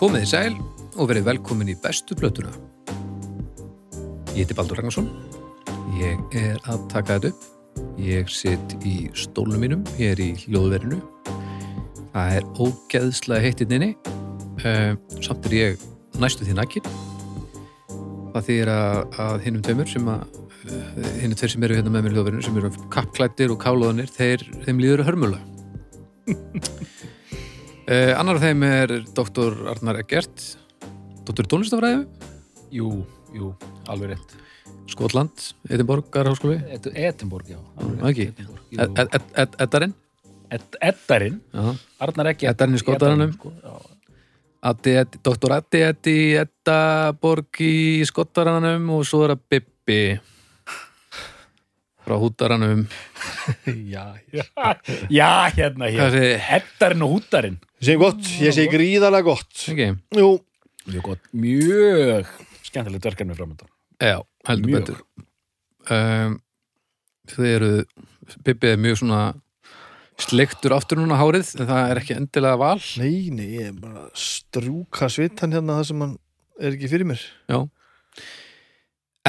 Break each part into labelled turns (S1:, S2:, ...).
S1: Komið í sæl og verið velkomin í bestu blötuna. Ég heiti Baldur Ragnarsson. Ég er að taka þetta upp. Ég sitt í stólnum mínum, ég er í hljóðverinu. Það er ógeðslega heittinn inni. Uh, samt er ég næstu því nakkin. Það þýðir að, að hinnum tveimur sem að uh, hinnum tveir sem eru hérna með mér í hljóðverinu sem eru kappklættir og kálóðanir, þeir, þeim líður hörmulega. Uh, annar af þeim er doktor Arnar Eggert, doktor í tónlistafræðum,
S2: Jú, jú, alveg rétt.
S1: Skotland, Edinborgarháskóli,
S2: Et, Edinborg, já. alveg
S1: Já,
S2: rétt,
S1: ekki?
S2: Edinborg, jú.
S1: Eddarinn,
S2: Ed- Eddarinn, Arnar ekki.
S1: Eddarinn í Skotaranum.
S2: Sko-
S1: Addi, Eddi, doktor Addi, Eddi, Eddaborg í Skotaranum og svo er að Bibbi frá Hútaranum.
S2: Já, já, já, hérna,
S1: Hvað
S2: hér.
S1: segir
S2: Eddarinn og húttarinn.
S3: Ég segi Mm, gott, ég segi gríðarlega gott
S1: þið? Ekki?
S3: Jú,
S2: Mjög gott. Mjög skemmtilegt verkefni framöndan.
S1: Já, heldur
S2: Mjög.
S1: betur um, Þið eru Bibbi er mjög svona sleiktur aftur núna hárið en það er ekki endilega val
S3: nei, nei, ég er bara að strúka svitan hérna það sem hann er ekki fyrir mér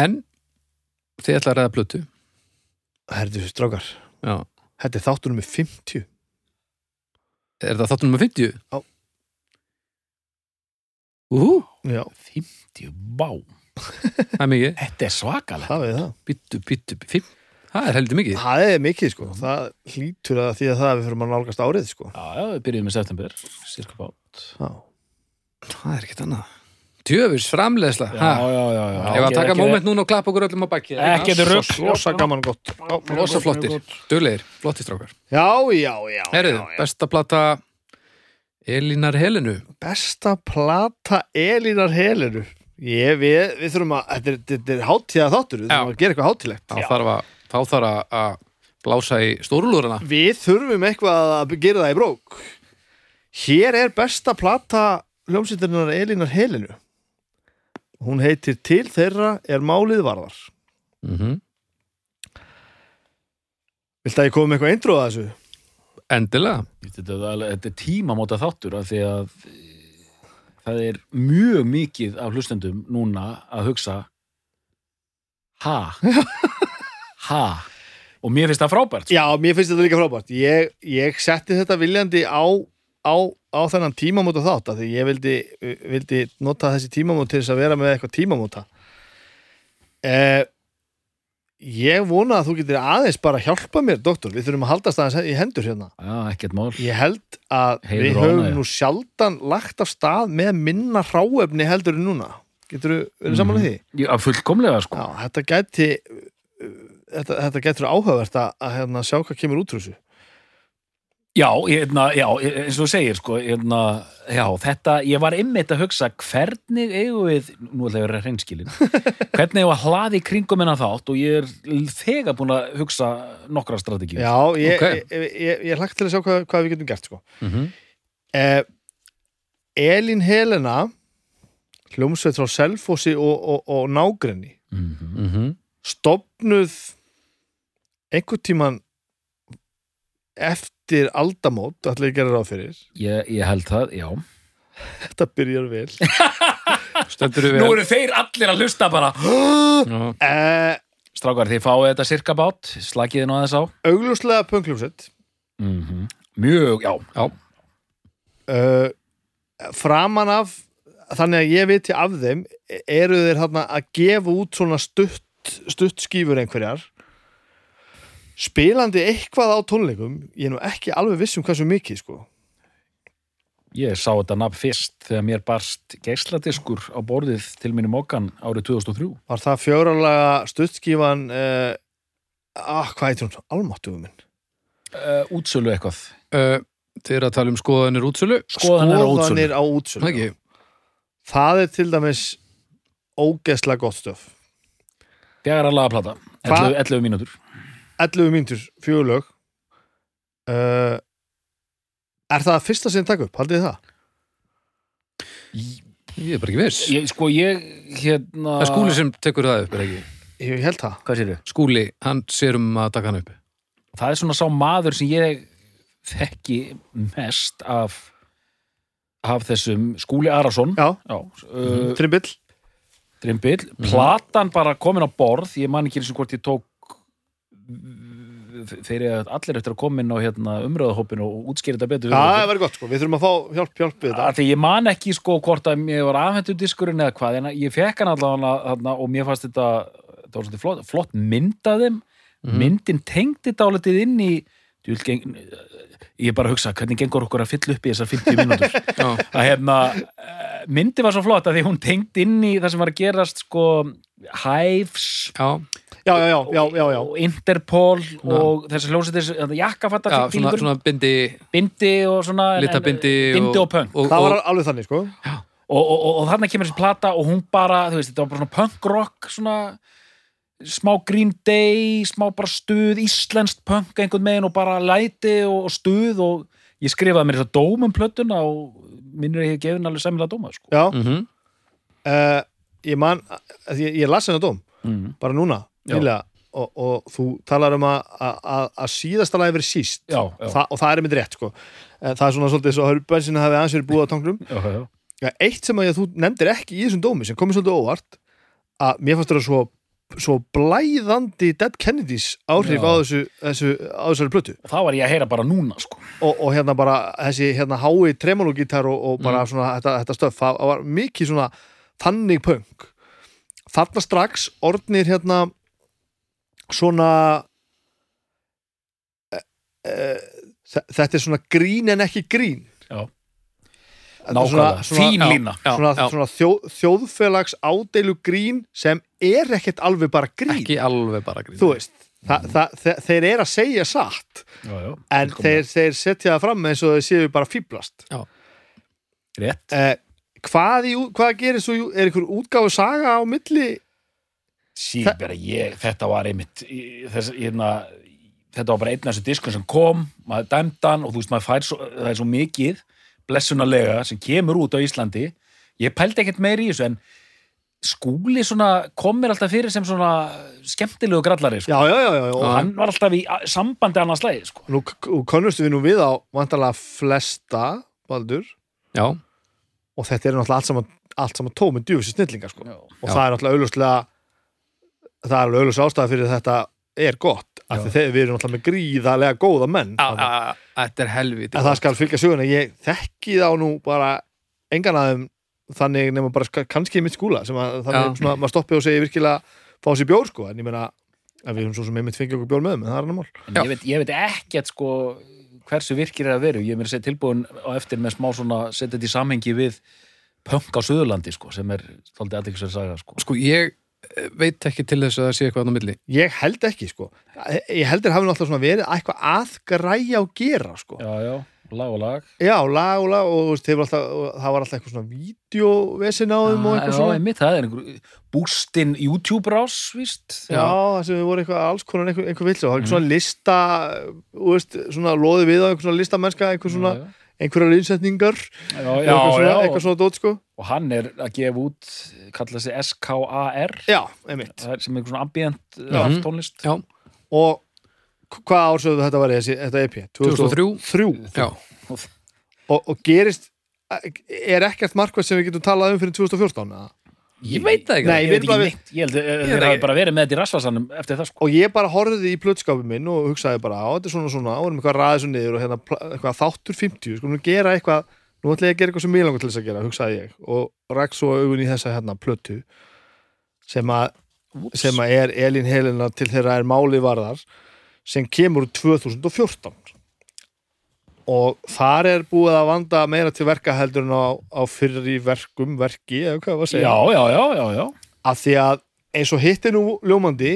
S1: en þið ætla að ræða plötu
S3: Herðu, strákar,
S1: Já.
S3: þetta er þáttur nummer 50
S1: Er það þáttunum að 50?
S3: Já.
S1: Úhú,
S3: Já,
S2: 50, vá.
S1: það er mikið
S2: Þetta er svakalegt.
S3: það veið það
S1: Bittu, bittu, fimm Það er heldur mikið
S3: Það er mikið, sko, það hlýtur að því að það við fyrir að nálgast árið, sko
S2: Já, já, við byrjuðum í september, cirka bát.
S3: Já,
S1: Það er ekkert annað Tjöfus framleiðsla
S2: Já,
S1: ha.
S2: já, já, já. já.
S1: Ef að taka moment núna og klappa okkur öllum á bakki
S2: Ekki þetta rugl.
S3: Losa gaman gott Já,
S1: Losa flottir, duglegir, flottir strákar
S3: já, já, já, já,
S1: Herðu,
S3: já.
S1: besta plata Elínar Helenu
S3: Besta plata Elínar Helenu Ég, við, við þurfum að, þetta er, þetta er hátíða þáttur, við
S1: Já.
S3: þurfum að gera eitthvað hátíðlegt
S1: þá þarf að, þá þarf að- að blása í stórulúrana
S3: Við þurfum eitthvað að gera það í brók Hér er besta plata hljómsýttarinnar Elínar Helinu Hún heitir Til þeirra er málið varðar
S1: mm
S2: Mhm.
S3: Viltu að ég komi með eitthvað eindróð að þessu?
S1: Endilega
S2: Þetta er, alveg- þetta er tímamóta þáttur af því að eh, það er mjög mikið af hlustendum núna að hugsa ha ha og mér finnst það frábært sko.
S3: Já, mér finnst þetta líka frábært Ég, ég setti þetta viljandi á, á, á þennan tímamóta þátt af Því ég vildi, vildi nota þessi tímamóta til þess að vera með eitthvað tímamóta eh, Ég vona að þú getur aðeins bara hjálpa mér, doktor Við þurfum að haldast aðeins í hendur hérna
S2: Já, ekkert mál
S3: Ég held að
S2: Heiður
S3: við
S2: og
S3: höfum
S2: ánægja.
S3: nú sjaldan lagt af stað með minna hráefni heldur en núna. Getur þú
S2: Mhm.
S3: verið saman mm því?
S2: Já, fullkomlega sko
S3: Já, þetta gæti uh, þetta, þetta gætur áhugavert að, að hérna, sjá hvað kemur út úr þessu.
S2: Já, hérna, já eins og þú segir sko hérna, já, þetta, ég var einmitt að hugsa hvernig eigum við nú ætla ég að vera hreinskilin hvernig eigum við að hlaði kringum en að þátt og ég er þegar búin að hugsa nokkra strategíu
S3: Já, ég,
S1: Ok.
S3: ég, ég, ég, ég hlagt til að sjá hvað, hvað við getum gert sko.
S1: mm
S2: Mhm.
S3: Eh, Elín Helena hljómsveit frá Selfossi og, og, og nágrenni
S2: Mhm.
S3: stopnuð einhvern tíman eftir aldamót, ætla ég að gera ráð fyrir
S2: ég, ég held það, já
S3: þetta byrjar vel
S1: Stendur hérna. við
S2: Nú eru þeir allir að hlusta bara
S1: Já,
S3: Eh,
S2: Strákar, þið fáið þetta sirka bát Slakið þið nú aðeins á
S3: augljóslega pöngljómsett
S2: Mhm. Mjög, já,
S1: já,
S3: uh, framan af þannig að ég viti af þeim eru þeir þarna að gefa út svona stutt, stutt skífur einhverjar spilandi eitthvað á tónleikum ég er nú ekki alveg viss um hversu mikið sko.
S2: ég sá þetta nafn fyrst Þegar mér barst geisladiskur á borðið Til minni mókan árið 2003
S3: var það fjóralega stuttskífan uh, ah, hvað heitir hún? Almáttugum minn
S2: uh, Útsölu eitthvað
S1: uh, Þið eru að tala um skoðanir útsölu
S2: Skoðanir á útsölu
S3: á útsölu
S1: Ekki,
S3: það er til dæmis ógeðslega gott stöf
S2: Fjara laga plata,
S3: Hva?
S2: 11, 11 mínútur
S3: 11 mínútur, fjögulög uh, Er það fyrsta sem takk upp? Haldið þið það?
S2: ég,
S1: ég er bara ekki viss
S2: ég- Sko, ég, hérna
S1: Það er skúli sem tekur það upp, er ekki
S3: Ég held það
S2: Hvað sérðu?
S1: Skúli, hann sér um að taka hann upp
S2: það er svona sá maður sem ég þekki mest af af þessum Skúli Arason
S3: Já,
S2: uh,
S3: trimbill
S2: Drimbill, platan bara komin á borð ég man ekki eins og hvort ég tók þeir eru allir eftir að koma inn á hérna, umröðahópin og útskýra þetta betur
S3: Já, það verður gott sko, við þurfum að fá hjálp, hjálp við þetta
S2: Af Því ég man ekki sko hvort að mér var afhentur diskurinn eða hvað, en ég fekk hann allavega þarna og mér fannst þetta, þetta var svolítið flott, flott mynd af þeim, myndin tengdi dálítið inn í, djúl, geng, ég bara hugsa, hvernig gengur okkur að fylla upp í þessar 50 mínútur?
S1: Já.
S2: að hérna, eh, myndin var svo flott að því hún tengdi inn í það sem var að gerast sko Hives
S1: Já,
S3: Já, já, já, já, já, já.
S2: og Interpol og þessi eh, hljósetis, jakkafatta
S1: já svona, svona bindi,
S2: bindi og svona en- en-
S1: litabindi
S2: bindi og punk
S1: og,
S3: Það
S1: og,
S3: var alveg þannig sko
S2: og, og, og, og þarna kemur þessi plata og hún bara, þú veist, þetta var bara svona punk rock svona smá Green Day, smá bara stuð íslenskt punk einhvern megin og bara læti og, og stuð og ég skrifaði mér þess að dóm um plötuna og minnir ég hef gefin alveg sæmilega dóma sko.
S3: Já,
S1: mm
S3: uh, ég man að ég, ég las hennar dóm,
S2: mm.
S3: bara núna
S2: Já.
S3: nýlega, og, og þú talar um að- að að- að síðasta lagi verið síst
S2: Já, já.
S3: Þa, og það er einmitt rétt sko Eh, það er svona svolítið svo hörbænsinu hafi aðeins verið búið á tanglum
S2: Já, já, já.
S3: Já, eitt sem að ég, þú nefndir ekki í þessum dómi sem komið svolítið óvart að mér fannst þetta svo, svo blæðandi Dead Kennedys áhrif
S2: Já.
S3: á, þessu, þessu, á þessari plötu
S2: og það var ég að heyra bara núna sko.
S3: og, og hérna bara þessi hérna hái tremologítar og, og bara
S2: Mm.
S3: svona þetta, þetta stöf það var mikið svona þannig punk þarna strax orðnir hérna svona e, e, þe- þetta er svona grín en ekki grín
S2: Já.
S3: Þetta er svona-
S2: Nákvæmlega.
S3: svona-
S2: Fín
S3: já,
S2: lína.
S1: Já,
S3: svona,
S1: já.
S3: svona þjó, þjóðfélags ádeilu grín sem er ekkert alveg bara grín
S1: ekki alveg bara grín
S3: þú veist Þa, það, þe þeir eru að segja satt
S2: já, já.
S3: en
S2: Fullkomlega.
S3: þeir, þeir setja það fram eins og þeir séu bara fýblast
S2: rétt
S3: eh, hvað, í, ú- hvað gerir svo í- er einhver útgáfu saga á milli
S2: Sí,
S3: Þa-
S2: bara ég, þetta var einmitt í- þess, hérna, þetta var bara einn af þessu diskum sem kom, maður dæmdi hann og þú veist, maður fær svo, það er svo mikið blessunarlega sem kemur út á Íslandi ég pældi ekkert meir í þessu en skúli svona, kom mér alltaf fyrir sem svona skemmtilegu grallari sko.
S3: já, já, já, já, já.
S2: og hann var alltaf í a- sambandi annars leið, sko.
S3: nú k- nú konnustu við nú við á vantarlega flesta baldur
S1: Já,
S3: og þetta er náttúrulega allt saman, allt saman tómi djúfisir snillingar sko. og
S1: Já.
S3: það er náttúrulega auðlustlega það er alveg auðlust ástæða fyrir að þetta er gott af
S2: Já.
S3: því þegar við erum náttúrulega með gríðarlega góða menn
S1: A-
S3: Þannig
S1: a- a- þetta er helviti
S3: að það skal fylgja söguna ég þekki þá nú bara engan aðeim þannig nema bara ska- kannski í mitt skúla sem að þannig
S1: Já.
S3: svona maður stoppi og segi virkilega fá sér bjór sko en ég meina að við höfum svo sem einmitt fengið okkur bjór með þeim en það er annar mál
S2: En
S1: Já.
S2: ég veit, ég veit ekkert sko hversu virkir er að veru, ég er mér að segja tilbúin á eftir með smá svona, setja þetta í samhengi við punk á Suðurlandi, sko, sem er þáldið aðeinsverð saga, sko.
S1: Sko, ég eh, veit ekki til þess að það sé eitthvað á milli
S3: ég held ekki sko ég heldur hafi náttúrulega svona verið eitthvað að græja og gera sko
S2: já, já, lag og lag
S3: Já, lag og lag og, þú veist, þeir voru alltaf, og það var alltaf eitthvað svona vídeovesin á
S2: Ah,
S3: þeim og eitthvað svona
S2: einmitt, það er einhver bústinn YouTube rás, víst
S3: Já, það sem voru eitthvað alls konar einhver, einhver vill og það var eitthvað svona lista þú veist, svona loði við á einhver svona listamennska einhver svona,
S2: já,
S3: einhverjar innsetningar
S2: já,
S3: já,
S2: já,
S3: eitthvað, svona,
S2: já.
S3: eitthvað svona dót sko
S2: og hann er að gefa út kalla sig SKAR
S3: Já, einmitt
S2: það er sem einhver svona ambient mm
S1: Mhm.
S2: tónlist
S1: Já,
S3: Og hva- hvað ársöðu þetta var þessi, þetta E EP?
S1: 2003. já,
S3: Og, og gerist er ekkert markvæð sem við getum talað um fyrir 2014 eða?
S1: ég veit það ekki
S3: Nei.
S2: ég
S3: veit
S2: veit
S3: bara
S2: ekki
S3: við-
S2: neitt, ég held að
S1: veit
S2: þeir hafi
S1: ekki.
S2: bara verið með þetta í rasvarsanum eftir það, sko
S3: og ég bara horfði í plötskapin minn og hugsaði bara á, þetta er svona svona, og erum eitthvað ræðis og niður og hérna pla- eitthvað þáttur 50, sko nú gera eitthvað, nú ætla ég að gera eitthvað sem ég langar til þess að gera, hugsaði ég og ræk svo augun í þessa hérna plötu sem að,
S2: Úps.
S3: sem að er Elín Helena til þeirra er máli varðar sem kemur úr 2014 og þar er búið að vanda meira til verka heldur en á, á fyrri verkum, verki eða hvað var
S2: já,
S3: að segja
S2: já, já, já, já
S3: að því að eins og hitt er nú ljómandi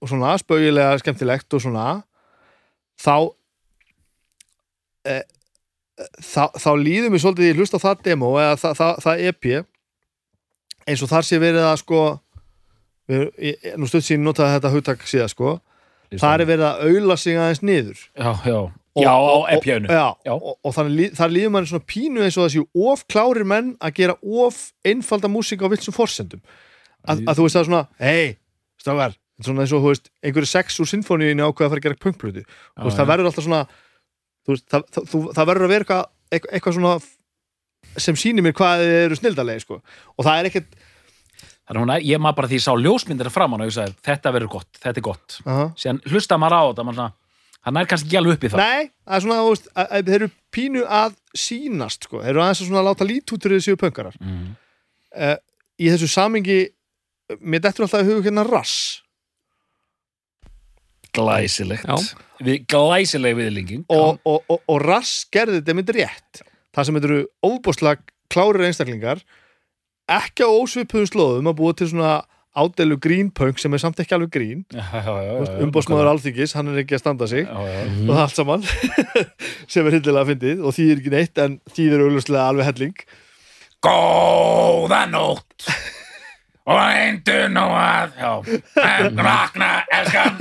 S3: og svona spaugilega skemmtilegt og svona þá e, þá, þá líður mér svolítið ég hlusta á það demo eða það, það, það EP eins og þar sé verið að sko við, ég, nú stutt sín notaði þetta hugtak síðan sko þar er verið að aula sig aðeins niður
S2: já, já,
S3: Og-
S2: já, á
S3: og-
S2: epjönu
S3: Já,
S2: Já.
S3: og, og þannig líð- þar líður mann svona pínu eins og það séu of klárir menn að gera of einfalda músík á vilsum forsendum að, að þú veist það er svona, hei, strágar þetta er svona eins og, þú veist, einhverju sex úr sinfóníinu ákveða að fara að gera punkplötu þú veist, það verður alltaf svona þú veist, það, það, þú- það verður að vera eitthvað, eitthvað, eitthvað svona sem sýnir mér hvað þið eru snildalegi sko. og það er ekkert
S2: Þannig að hún er, ég maður bara því ég sá ljósmyndir framan og ég sagði, þetta verður gott, þetta er gott.
S3: Aha.
S2: Síðan hlusta maður á þetta, maður svona, hann er kannski ekki alveg upp í það.
S3: Nei, það er svona, þú veist, að, að þeir eru pínu að sýnast, sko. Þeir eru aðeins að svona láta lít út fyrir þessu pöngarar.
S2: Mm.
S3: Uh, í þessu samingi, mér dettur alltaf í hug hérna rass.
S2: Glæsilegt.
S1: Já.
S2: Við, glæsileg viðlinging.
S3: Og, og, og, og rass gerði þetta mynd rétt. Það sem þetta eru óbúslega klárir einstaklingar, ekki á ósvipuðum slóðum að búa til svona ádelu grínpöng sem er samt ekki alveg grín.
S2: Já, já, já, já, já, Mhm.
S3: Umbósmaður alþyggis, hann er ekki að standa sig.
S2: Já, já.
S3: og það allt saman sem er hildilega fyndið og þýðir ekki neitt en þýðir augljóslega alveg helling
S2: Góða nótt og reyndu nú að já, en rakna elskan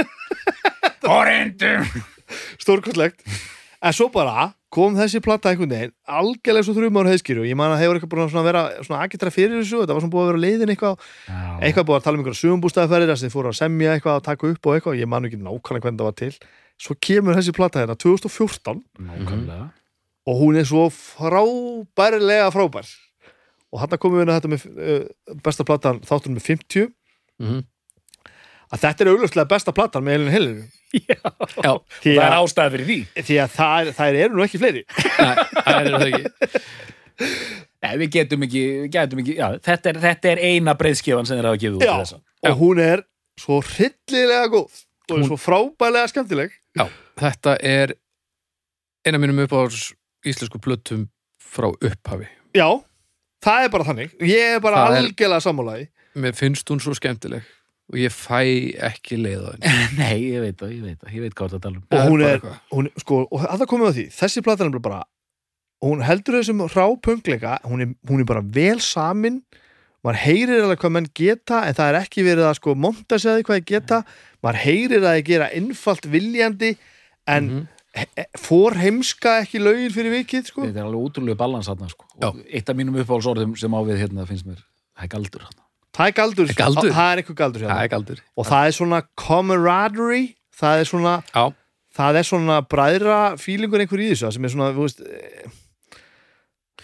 S2: og reyndu
S3: stórkostlegt en svo bara kom þessi plata einhvern veginn algjörlega svo þrjum ára heiðskýru og ég man að hefur eitthvað búin að svona vera svona agitra fyrir þessu þetta var svona búið að vera leiðin eitthvað eitthvað búið að tala um einhverja sögumbústæðaferðir þess að þið fóru að semja eitthvað og taka upp og eitthvað ég man ekki nákvæmlega hvernig það var til svo kemur þessi plata hérna 2014
S2: Nákvæmlega
S3: og hún er svo frábærlega frábær og hann komum við inn að þetta með uh, besta platan þáttur með 50
S1: Mhm.
S3: að þetta er augljóslega besta platan með Elin Hillary
S1: Já,
S3: því
S2: Það er
S3: að,
S2: ástæð fyrir því
S3: því að það, það eru nú ekki fleiri
S1: Nei, það er það ekki
S2: Nei, við getum ekki, við getum ekki já, þetta, er, þetta er eina breyðskifan sem þeir hafa gefið út
S3: Já,
S2: þessa.
S3: og hún er svo hryllilega góð og er svo frábælega skemmtileg
S1: Já, þetta er eina mínum uppáðs íslensku plötum frá upphafi
S3: já, það er bara þannig ég er bara
S1: Það er-
S3: algjörlega sammálaði
S1: Mér finnst hún svo skemmtileg og ég fæ ekki leið á henni
S2: Nei, ég veit það, ég veit það, ég veit hvað það tala um
S3: og
S1: Það
S3: hún
S1: bara
S3: er,
S1: eitthvað.
S3: hún, sko, og að það komið á því þessi platan er bara hún heldur þessum rápöngleika hún er, hún er bara vel samin maður heyrir alveg hvað menn geta en það er ekki verið að sko monta sig að því hvað þið geta maður heyrir að þið gera innfalt viljandi en mm
S1: Mhm.
S3: fór heimska ekki lögin fyrir vikið sko
S2: Þetta er alveg útrúlega balans hann sko. Og Eitt af mínum uppáhalsorðum sem á við hérna finnst mér Það er galdur hann
S3: það er galdur,
S1: Er galdur?
S3: Á- það er eitthvað galdur
S1: Það
S3: hérna.
S1: er galdur
S3: og það er svona camaraderie það er svona
S1: Já,
S3: það er svona bræðra fílingur einhver í þessu sem er svona, þú veist eh,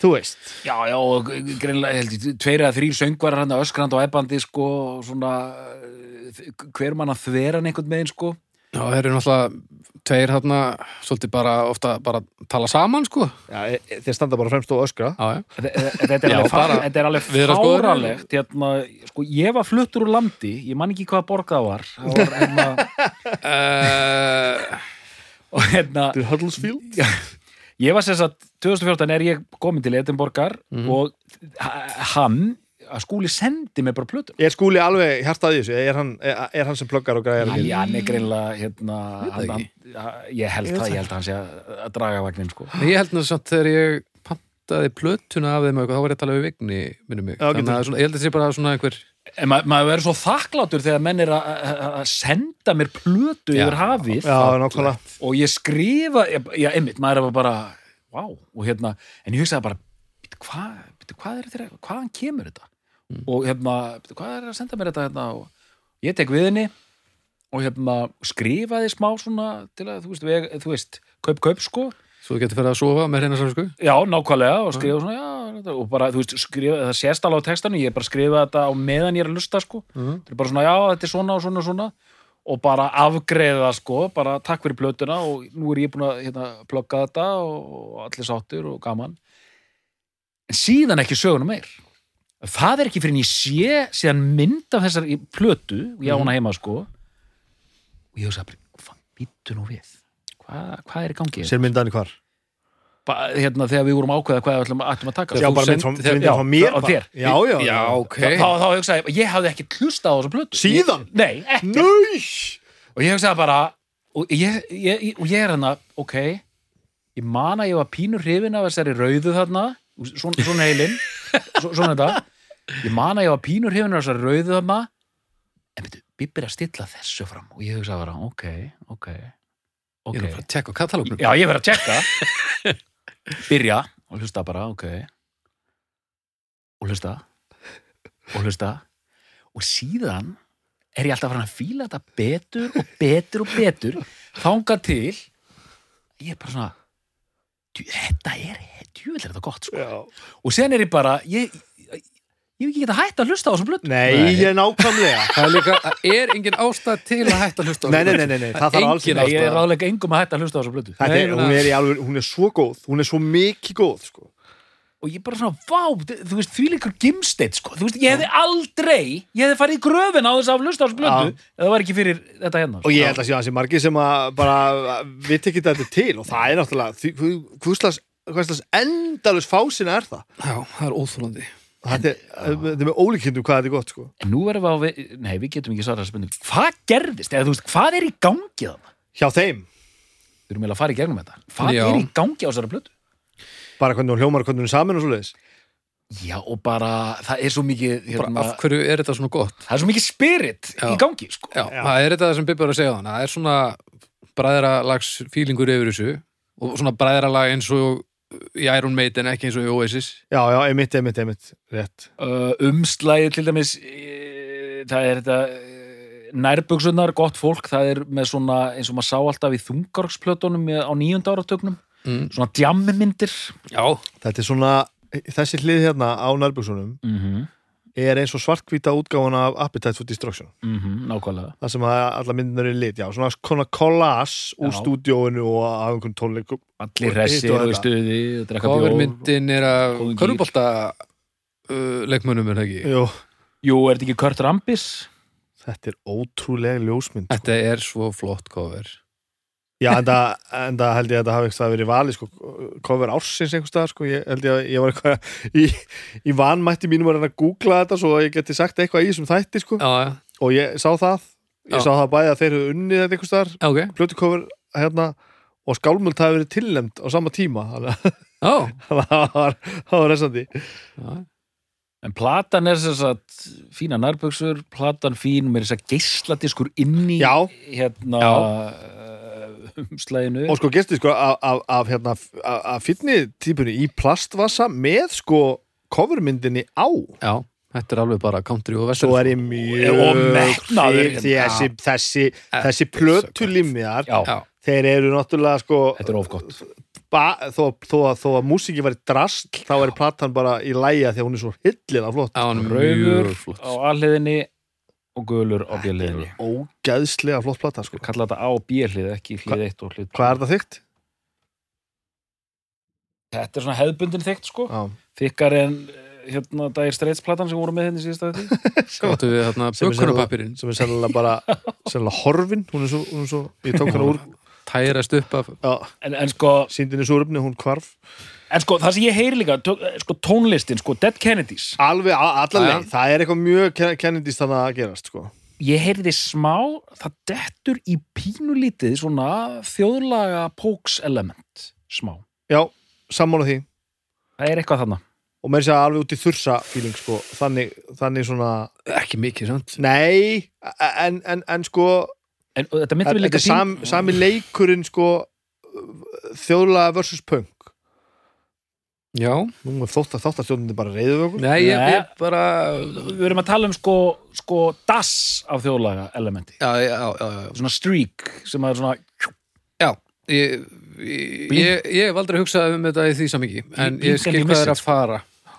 S3: þú veist
S2: Já, já, og greinlega, held ég, tveir eða þrýr söngvarar hann öskrand og ebbandi, sko, og svona, eh, hver mann að þveran einhvern veginn, sko.
S1: Já, þeir eru náttúrulega tveir hérna svolítið bara ofta bara tala saman sko
S3: Já, e- e- þeir standa bara fremst og öskra
S1: Já, já,
S2: Þe- þe- Þetta er
S1: Já,
S2: alveg, fá,
S1: bara
S2: þetta er alveg
S1: viðra skoðun.
S2: fáralegt, hérna, sko, ég var fluttur úr landi, ég man ekki hvaða borg það var, það var hérna,
S1: uh,
S2: og hérna,
S3: Þetta er Huddlesfield
S2: ég var sem sagt, 2014 er ég komin til Edinborgar og h- hann, að skúli sendi mig bara plötun.
S3: Er skúli alveg hjartað í þessu? Er hann, er, er hann sem pluggar og græjar?
S2: Æ, hann er greinlega, hérna,
S1: Ég veit
S2: hann,
S1: það
S2: hann, ég held það, ég held að hann sé að að draga vagnin, sko.
S1: Ég held náttúrulega samt þegar ég pantaði plötuna af þeim og eitthvað, þá var ég að tala við vigni minnum mig,
S3: Já, getur.
S1: þannig að svona, ég held að þetta sé bara svona einhver
S2: En ma maður verður svo þakklátur þegar menn er að- að að senda mér plötu
S1: Já.
S2: yfir hafið
S3: Já, nákvæmlega
S2: og ég skrifa, ég- já, einmitt, maður er bara, vá, og hérna, en ég hugsaði bara, "Bíddu, hvað, bíddu, hvað er þetta, hvaðan kemur þetta? Og hérna, "Bíddu, hvað er að senda mér þetta hérna? Og ég tek við henni og hérna, skrifaði smá svona til að, þú veist, veg, þú veist kaup, kaup, sko,
S1: svo þú getur fyrir að sofa með reyna samsku
S2: já, nákvæmlega, og skrifa svona, já, þetta- og bara, þú veist, skrifa, það sést alveg á textanu, ég er bara að skrifa þetta á meðan ég er að lusta, sko,
S1: Mhm.
S2: þetta er bara svona, já, þetta er svona og svona og svona og bara afgreða sko, bara takk fyrir plötuna og nú er ég búin að hérna, plugga þetta og allir sáttur og gaman en síðan ekki söguna meir það er ekki fyrir en ég sé síðan mynd af þessar plötu og ég á hana heima sko og ég hugsa bara, hvað býttu nú við hvað, hvað er í gangi
S3: Sér myndaðan í hvar?
S2: ba, hérna, þegar við vorum ákveða hvað við ætlum, ætlum að taka
S3: Já,
S1: þú
S3: bara
S1: sendi-
S3: mynd frá,
S1: þegar-
S3: myndaðan frá
S2: já,
S3: mér
S2: frá
S3: bara.
S2: þér.
S3: Já, já,
S1: Já, ok
S2: þá, þá hugsaði ég, ég hafði ekki hlustað á þessa plötu
S3: Síðan?
S2: Ég, nei, ekki
S3: Nei!
S2: og ég hugsaði bara og ég, ég, ég, og ég er hérna, ok ég man að ég var pínur hrifin af þessari rauðu þarna svona, svona heilin svona þetta ég man að ég var pínur hrifin af þessari rauðu þarna en byrju, Bibbi er að stilla þessu fram og ég hugsaði bara, ok, ok
S1: Ég
S2: ok,
S1: er nú bara að tjekka á katalógnum
S2: já ég verið að tjekka byrja og hlusta bara, ok og hlusta og hlusta og síðan er ég alltaf farin að fíla þetta betur og betur og betur þanga til ég er bara svona djú- þetta er, djúvill er þetta gott sko.
S3: Já.
S2: og sen er ég bara ég, ég, ég hef ekki geta hætt að hlusta á þessum blötu
S3: Nei,
S1: Nei.
S3: ég er nákvæmlega
S1: Það er líka, það er engin ástæð til að hætta að hlusta á
S3: Nei, nei,
S1: Rolling
S3: nei, nei, nei, það
S1: Engin
S3: þarf alls
S1: ástæða.
S2: Nei, ég er ráðlega engum að hætta að hlusta á þessum blötu
S3: Þetta er,
S1: Nei,
S3: hún er í alveg, hún er svo góð, hún er svo mikið góð, sko.
S2: og ég bara svona, vá, þ- þú veist, því líkur gimsteitt, sko, þú veist, ég hefði aldrei ég hefði farið í gröfin á þess að hlusta á þessu blöndu
S3: Já.
S2: ef það var ekki fyrir þetta hérna
S3: Og ég held að sé að sé margir sem að bara viti ekki þetta til og það er náttúrulega, því- hvað- hvað slags, hvað slags endalus fásin er það?
S1: Já, það er óþólandi
S3: Þetta er, þetta er með ólíkindum hvað þetta er gott, sko.
S2: en nú verðum við á, við- nei, við getum ekki svarað þessu blöndu hvað gerðist, eða þú veist, hvað er í gangi þannig,
S3: Hjá þeim,
S2: við erum eiginlega að fara í gegnum þetta hvað
S1: Já.
S2: er í gangi á þessari blöndu
S3: bara hvernig hún hljómar, og hvernig hún er saman og svoleiðis.
S2: já, og bara, það er svo mikið
S1: Bara,
S2: hérna,
S1: Af hverju er þetta svona gott?
S2: það er svo mikið spirit
S1: Já.
S2: í gangi, sko
S1: Já,
S3: Já.
S1: það er þetta sem Bibbi var að segja þannig Það er svona bræðralags fílingur yfir þessu og svona bræðralag eins og í Iron Maiden, ekki eins og í Oasis
S3: Já, já, einmitt, einmitt, einmitt, rétt.
S2: uh, umslæði til dæmis e, það er þetta e, nærbuksunar, gott fólk það er með svona, eins og maður sá alltaf í þungarksplötunum í- á nýjunda áratögnum
S1: Mm.
S2: svona djammyndir
S1: Já,
S3: Þetta er svona, þessi hlið hérna á nærbuksunum
S2: mm -hmm.
S3: er eins og svartkvíta útgáfan af Appetite for Destruction.
S2: nákvæmlega
S3: það sem að alla myndunar eru lit, já, svona konar collage úr
S2: Já.
S3: stúdíóinu og af einhvern tónleikum
S2: allir
S3: Og
S2: hressir
S3: hitt og
S2: og í
S3: þetta.
S2: stuði og drekka bjór
S1: covermyndin er af
S2: Góðum gír.
S1: körfubolta uh, leikmönnum er það ekki
S3: Jú,
S2: jú, er þetta ekki Kurt Rambis?
S3: þetta er ótrúlega ljósmynd sko.
S1: Þetta er svo flott cover
S3: Já, enda, enda held ég að þetta hafi eitthvað verið valið, sko, cover ársins einhvers staðar, sko, ég held ég að ég var eitthvað í, í vanmætti mínum að reyna að googla þetta svo að ég geti sagt eitthvað í þessum þætti, sko,
S1: Já, já,
S3: og ég sá það ég
S1: Já.
S3: sá það bæði að þeir eru unnið þetta einhvers staðar,
S1: Já, ok
S3: plötu cover hérna, og skálmöld hafi verið tillemd á sama tíma, þannig að
S1: Já,
S3: það var, það var resandi
S1: já.
S2: en platan er þess að fína nærbuksur, platan fín með þess að geisladiskur inn í
S3: Já.
S2: hérna
S1: Já.
S2: eh, umslæginu
S3: og sko gestið sko af, af, af, hérna, af, af fyrni típunni í plastvasa með sko covermyndinni á
S1: já, þetta er alveg bara country og vestur
S3: svo er ég mjög
S2: Og metnaður hérna. Eh,
S3: hrifinn- þessi, þessi,
S1: Ja.
S3: þessi plötulimiðar
S2: já,
S1: Já,
S3: þeir eru náttúrulega sko
S2: þetta er ofgott
S3: ba, þó, þó, að- þó að músiki væri drast þá er platan bara í læja því að hún er svo hillilega flott
S1: já, hann er
S2: rauður
S1: mjög flott
S2: á alliðinni og gulur á bjöliðinni
S3: ógæðslega flott plata sko
S2: kalla þetta á bjölið, ekki hlið eitt og hlið tvö.
S3: hvað er það þygt?
S2: þetta er svona hefðbundin þykkt sko
S3: Já.
S2: þykkar en eh, hérna dagir streitsplatan sem voru með hérna henni síðast að þetta
S1: Gáttu við þarna
S3: Sem er
S1: bökunarpapirinn
S3: sem er sennilega bara sennilega horfin hún er svo, hún er svo ég tók hana úr
S1: Tærast upp af
S3: já,
S2: en, en, sko,
S3: síndinni súröfni hún hvarf
S2: en sko það sem ég heyri líka tök- eh, sko, tónlistin, sko Dead Kennedys
S3: Alveg, a- allan
S1: Já.
S3: leið, það er eitthvað mjög kennendist þannig að gerast, sko.
S2: ég heyri þið smá, það dettur í pínulítið svona þjóðlaga póks element smá,
S3: Já, sammála því.
S2: það er eitthvað þarna
S3: Og mér sé að segja alveg út í þursa feeling, sko. Þannig, þannig svona,
S1: Ekki mikið, sant?
S3: nei, en, en, en sko,
S2: en og þetta myndi
S3: þetta
S2: við líka
S3: er sam, sami leikurinn, sko, þjóðlega versus punk.
S1: Já,
S3: Nú er þótt að þátt að stjórnandi bara reyðu við okkur.
S1: nei, ég, ég bara
S2: við erum að tala um sko, sko das af þjóðlaga elementi
S1: Já, já, já, já, já.
S2: svona streak sem er svona
S1: Ég, ég, ég, ég hef aldrei hugsað um þetta í því samingi en
S2: Blink-
S1: ég skil hvað er
S2: blinkandi
S1: að
S2: missing,
S1: fara
S3: sko.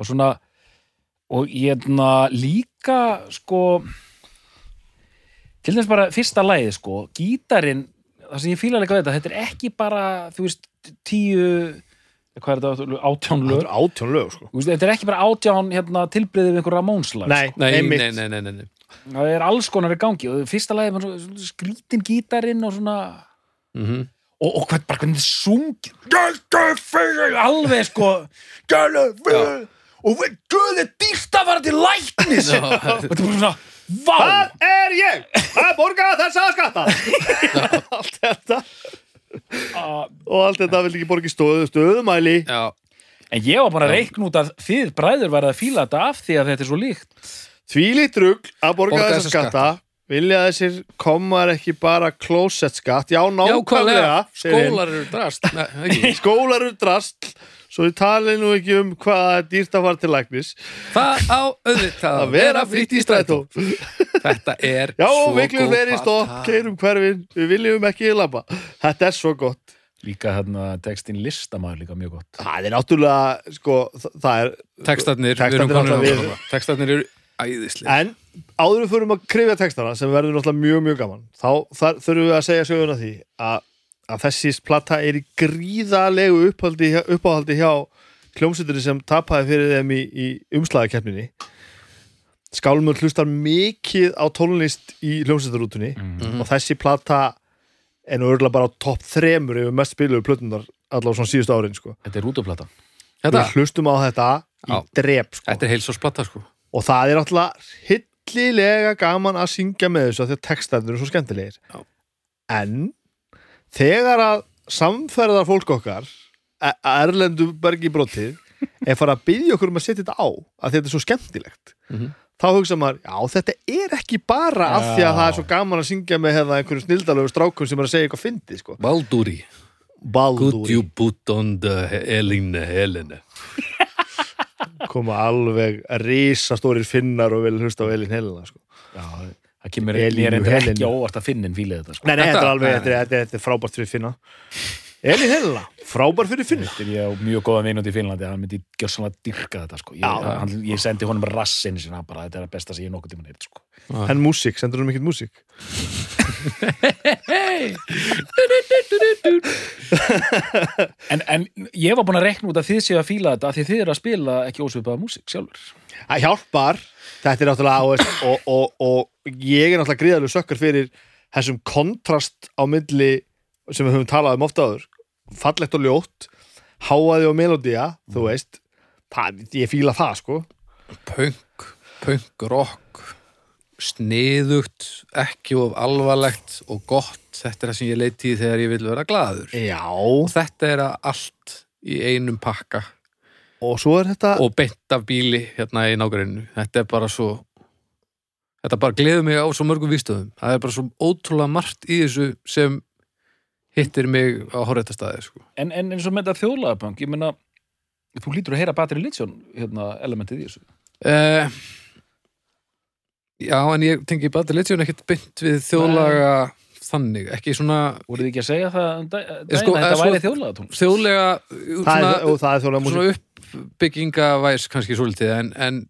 S2: og svona og ég hefna líka sko til þess bara fyrsta lagið sko gítarinn, það sem ég fíla líka við þetta þetta er ekki bara, þú veist tíu, hvað er þetta átján
S3: Það
S2: lög,
S3: er átjón lög, sko.
S2: Þú veist, þetta er ekki bara átján hérna, tilbriðið við einhver sko. Ramónslag
S3: Nei,
S1: Nei,
S3: einmitt.
S1: nei, nei, nei, nei, nei.
S2: það er alls konar í gangi og fyrsta lagið, er bara svona- svona skrítin gítarinn og svona
S1: Mm
S2: og, og hvern, bara hvernig þið sungið alveg sko og við guðið dýrt að fara til læknis og þetta er bara svona vá,
S3: Hvað er ég að borga þessa skatta? allt þetta.
S2: Ah,
S3: Og allt þetta vil ekki borga í stöðu, stöðumæli.
S1: Já,
S2: en ég var bara að reikna út að þið bræður verða að fíla þetta af því að þetta er svo líkt
S3: Þvílíkt rugg að borga
S1: Borga
S3: þessa
S1: þessa
S3: skatta Vilja þessir komar ekki bara closet skatt Já, nákvæmlega
S1: Jákvæmlega, skólar eru drast Nei, ekki.
S3: Skólar eru drast Svo við talið nú ekki um hvað er dýrt að fara til læknis
S1: Það á auðvitað
S3: Að vera fritt í strætó
S1: Þetta er
S3: Já,
S1: svo
S3: og miklu
S1: góð
S3: fleiri
S1: plata.
S3: stopp Keirum hverfin, við viljum ekki labba Þetta er svo gott
S2: Líka hérna textin listamaður líka mjög gott.
S3: Það er náttúrulega, sko, þa- það er
S1: Textarnir, við erum
S3: Textarnir
S1: komin
S3: alltaf
S1: á- Textarnir eru æðislega
S3: En áður við fyrir að krifja textana sem verður náttúrulega mjög, mjög gaman þá þar, þurfum við að segja söguna því að, að þessi plata er í gríðalegu upphaldi, uppáhaldi hjá kljómsveitinni sem tapaði fyrir þeim í, í umslagakeppninni Skálmur hlustar mikið á tónlist í kljómsveitarútunni
S1: Mhm.
S3: og þessi plata er nú örgulega bara á topp þremur yfir mest spiluðu plötunar allavega svona síðustu árin sko.
S2: Þetta er rútuplata.
S1: Þetta,
S3: Við hlustum á þetta í
S1: Já.
S3: drep sko
S1: Hérna, þetta er heilsásplata sko
S3: og það er alltaf hillilega gaman að syngja með þessu af því að textarnir eru svo skemmtilegir
S1: Já.
S3: en þegar að samferðar fólk okkar e- erlendu bergi brotið er fara að byggja okkur um að setja þetta á að þetta er svo skemmtilegt
S1: Mhm.
S3: þá hugsa maður, já þetta er ekki bara af því að
S2: Já.
S3: það er svo gaman að syngja með hefða einhverjum snildalögu strákum sem er að segja eitthvað fyndi sko.
S1: Valdúri, could you
S3: Baldúi
S1: put on the Elina Helena
S3: koma alveg risastórir finnar og vil hlusta á Elin Helena sko.
S2: Já, það kemur
S3: Elínu
S2: mér endur ekki
S3: Helenu.
S2: á óvart að finnin fílið þetta. Sko.
S3: Nei, nei,
S1: Þetta-
S3: þetta er alveg,
S1: nei,
S3: þetta er, þetta er, þetta er frábært fyrir finna Elin Helena, frábært fyrir finna
S2: Þetta er ég á mjög góða vinund í Finnlandi, hann myndi gjössanlega dyrka þetta, sko. Ég,
S3: Já.
S2: hann, ég sendi honum rassin sinna bara, þetta er að besta sem ég nokkuð tíma neitt, sko.
S3: En músík, sendur hún mikill músík
S2: En, en ég var búin að rekna út að þið séu að fíla þetta af því þið eru að spila ekki ósvipaða músík sjálfur.
S3: Það hjálpar, þetta er náttúrulega og, og, og, og ég er náttúrulega gríðalegu sökkar fyrir þessum kontrast á milli sem við höfum talað um ofta áður fallegt og ljótt, háaði og melodía
S1: Mm.
S3: þú veist, það, ég fíla það sko
S1: punk, punk rock sniðugt, ekki of alvarlegt og gott, þetta er það sem ég leiti í þegar ég vil vera glaður
S3: Já,
S1: og þetta er að allt í einum pakka
S3: og svo er þetta
S1: og beint af bíli hérna í nágrinu þetta er bara svo þetta bara gleður mig á svo mörgum vístöðum það er bara svo ótrúlega margt í þessu sem hittir mig á horretta staði sko.
S2: En, en eins og með þetta þjóðlagabang, ég meina, þú lítur að heyra Batri Litsjón, hérna, elementið í þessu.
S1: uh, já en ég tengi bara að litjón ekkert beint við þjóðlaga þannig, ekki svona
S2: Voruð þið ekki að segja það um dag- daginn
S1: sko,
S2: að
S1: eh,
S2: þetta
S1: sko-
S2: væri þjóðlagatón?
S1: þjóðlega
S3: það
S1: svona,
S3: er, og það er þjóðlega músík
S1: svona uppbyggingavæs kannski svolítið en, en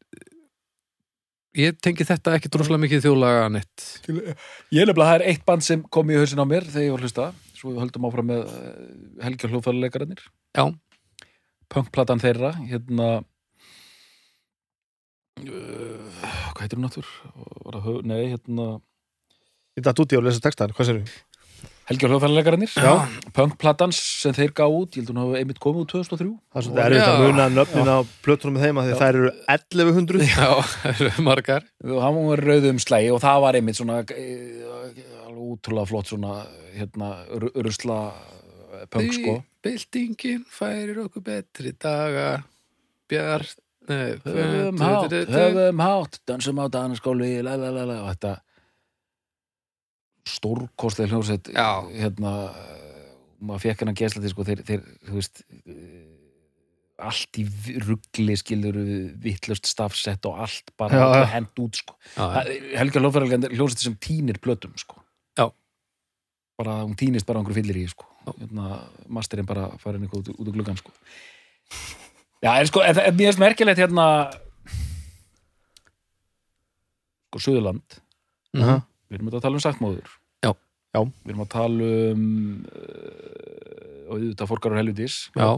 S1: ég tengi þetta ekki droslega mikið þjóðlaga neitt
S2: Ég er nefnilega, það er eitt band sem kom í hausin á mér þegar ég var að hlusta, svo við höldum áfram með eh, Helgi og hljóðfæluleikararnir.
S1: Já.
S2: Punkplatan þeirra, hérna, uh, hvað heitir hún náttúr? Var það, hö- nei, hérna,
S3: Þetta er dúti á að lesa textaðan, hvað sér
S2: Helgi og hljóðfæluleikararnir.
S1: Já.
S2: Punkplatans sem þeir gáðu út, ég held hún hafa einmitt komið út 2003.
S3: Það er svolítið erfitt að
S1: Já.
S3: muna nöfnin á plötunum með þeim að því
S2: Já.
S3: þær eru 1100
S1: já, það eru margar
S2: og hann var rauðum slægi og það var einmitt svona eh, alveg útrúlega flott svona hérna ru- rusla eh, punk sko
S1: Bildingin færir okkur betri daga Bjart Nei,
S2: höfum hátt, höfum hátt dansum á danaskóli la, la, la, la, og þetta stórkostlega hljóðsett
S1: Já.
S2: hérna eh, maður fekk hennar geslati sko þeir, þeir þú veist eh, allt í ruggli skilur vittlust stafsett og allt bara
S3: Já, já.
S2: hend út sko
S1: Já,
S2: Það- Helga Lófæralgan hljómsveit sem týnir plötum sko.
S1: Já.
S2: bara hún týnist bara á einhverju fyllir í sko. hérna, masterinn bara farin eitthvað út, út úr gluggan sko. já, en sko en, það- en mér finnst merkilegt hérna sko, Suðurland
S1: Mhm.
S2: við erum auðvitað að tala um sakmóður
S1: Já.
S3: Já.
S2: við erum að tala um uh, og auðvitað fórkar og helvitis
S1: já,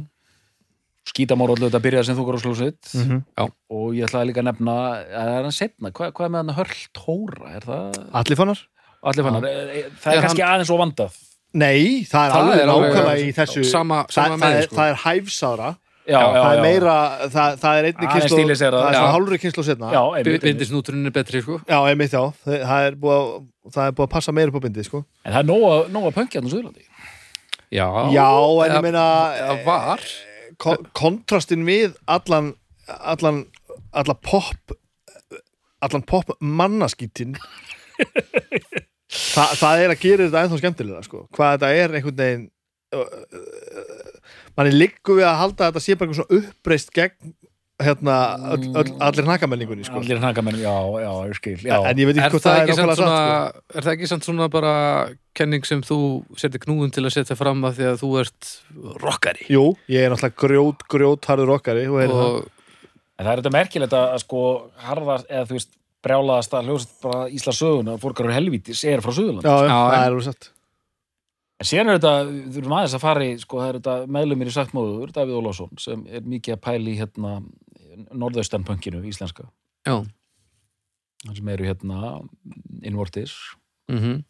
S2: skítamór allir auðvitað byrjaði sem þú góður á slósveit
S1: já.
S2: og ég ætlaði líka að nefna að það er hann setna, hvað, hvað með hann Hörl Tóra, er það
S3: Allir fannar?
S2: allir fannar, Eh, það er
S1: Er
S2: kannski aðeins og vandað
S3: Nei, það er
S1: Það
S3: alveg
S1: er alveg-
S3: nákvæmlega í þessu
S1: Sama, sama
S3: það,
S1: með,
S3: það, er,
S1: sko
S3: það er hæfsára
S2: já, já, já.
S3: það er meira, það, það er einni
S2: Aðeins
S3: kynslu það er
S2: stílisera,
S1: já.
S3: svona hálfri kynslu setna
S2: já, einmitt, einmitt.
S1: Bindisnúturinn er betri, sko
S3: já einmitt já, það það er búið að það er búið að passa meira upp á bindið sko
S2: en það er nóga, nóga pönkja á Suðurlandi
S1: Já,
S3: Já, en
S1: eða-
S3: ég meina eh,
S1: eða var
S3: ko- kontrastin við allan allan, allan pop allan pop mannaskítin Þa, það er að gera þetta ennþá skemmtilega sko. hvað þetta er einhvern veginn manni liggur við að halda að þetta sé bara einhvern svona uppreist gegn hérna, öll, öll,
S1: Mm.
S3: allir nakamenningunni sko.
S2: Allir hnakamennum, já, já, ég skil já.
S3: en ég veit
S1: Er
S3: ekki hvort
S1: það,
S3: það
S1: ekki
S3: er
S1: samt
S3: nákvæmlega
S1: svona,
S3: satt sko.
S1: er það ekki samt svona bara kenning sem þú setir knúðum til að setja fram að því að þú ert rockari
S3: Jú, ég er náttúrulega grjót, grjót harður okkari og heyrðu það.
S1: og
S2: En það er þetta merkilegt að að sko harðar, eða þú veist, brjálaðast að hljóðast bara Ísla söguna, fórgar og helvítis er frá Suðurland.
S3: Já, já,
S1: Já,
S3: það
S1: en-
S3: er alveg satt
S2: En síðan er þetta, þurfum aðeins að fara í, sko, það er þetta meðlumir í Sættmóður, Davíð Ólafsson, sem er mikið að pæla í hérna norðaustanpönkinu íslenska,
S1: já,
S2: hann sem eru hérna innvortis
S1: mhm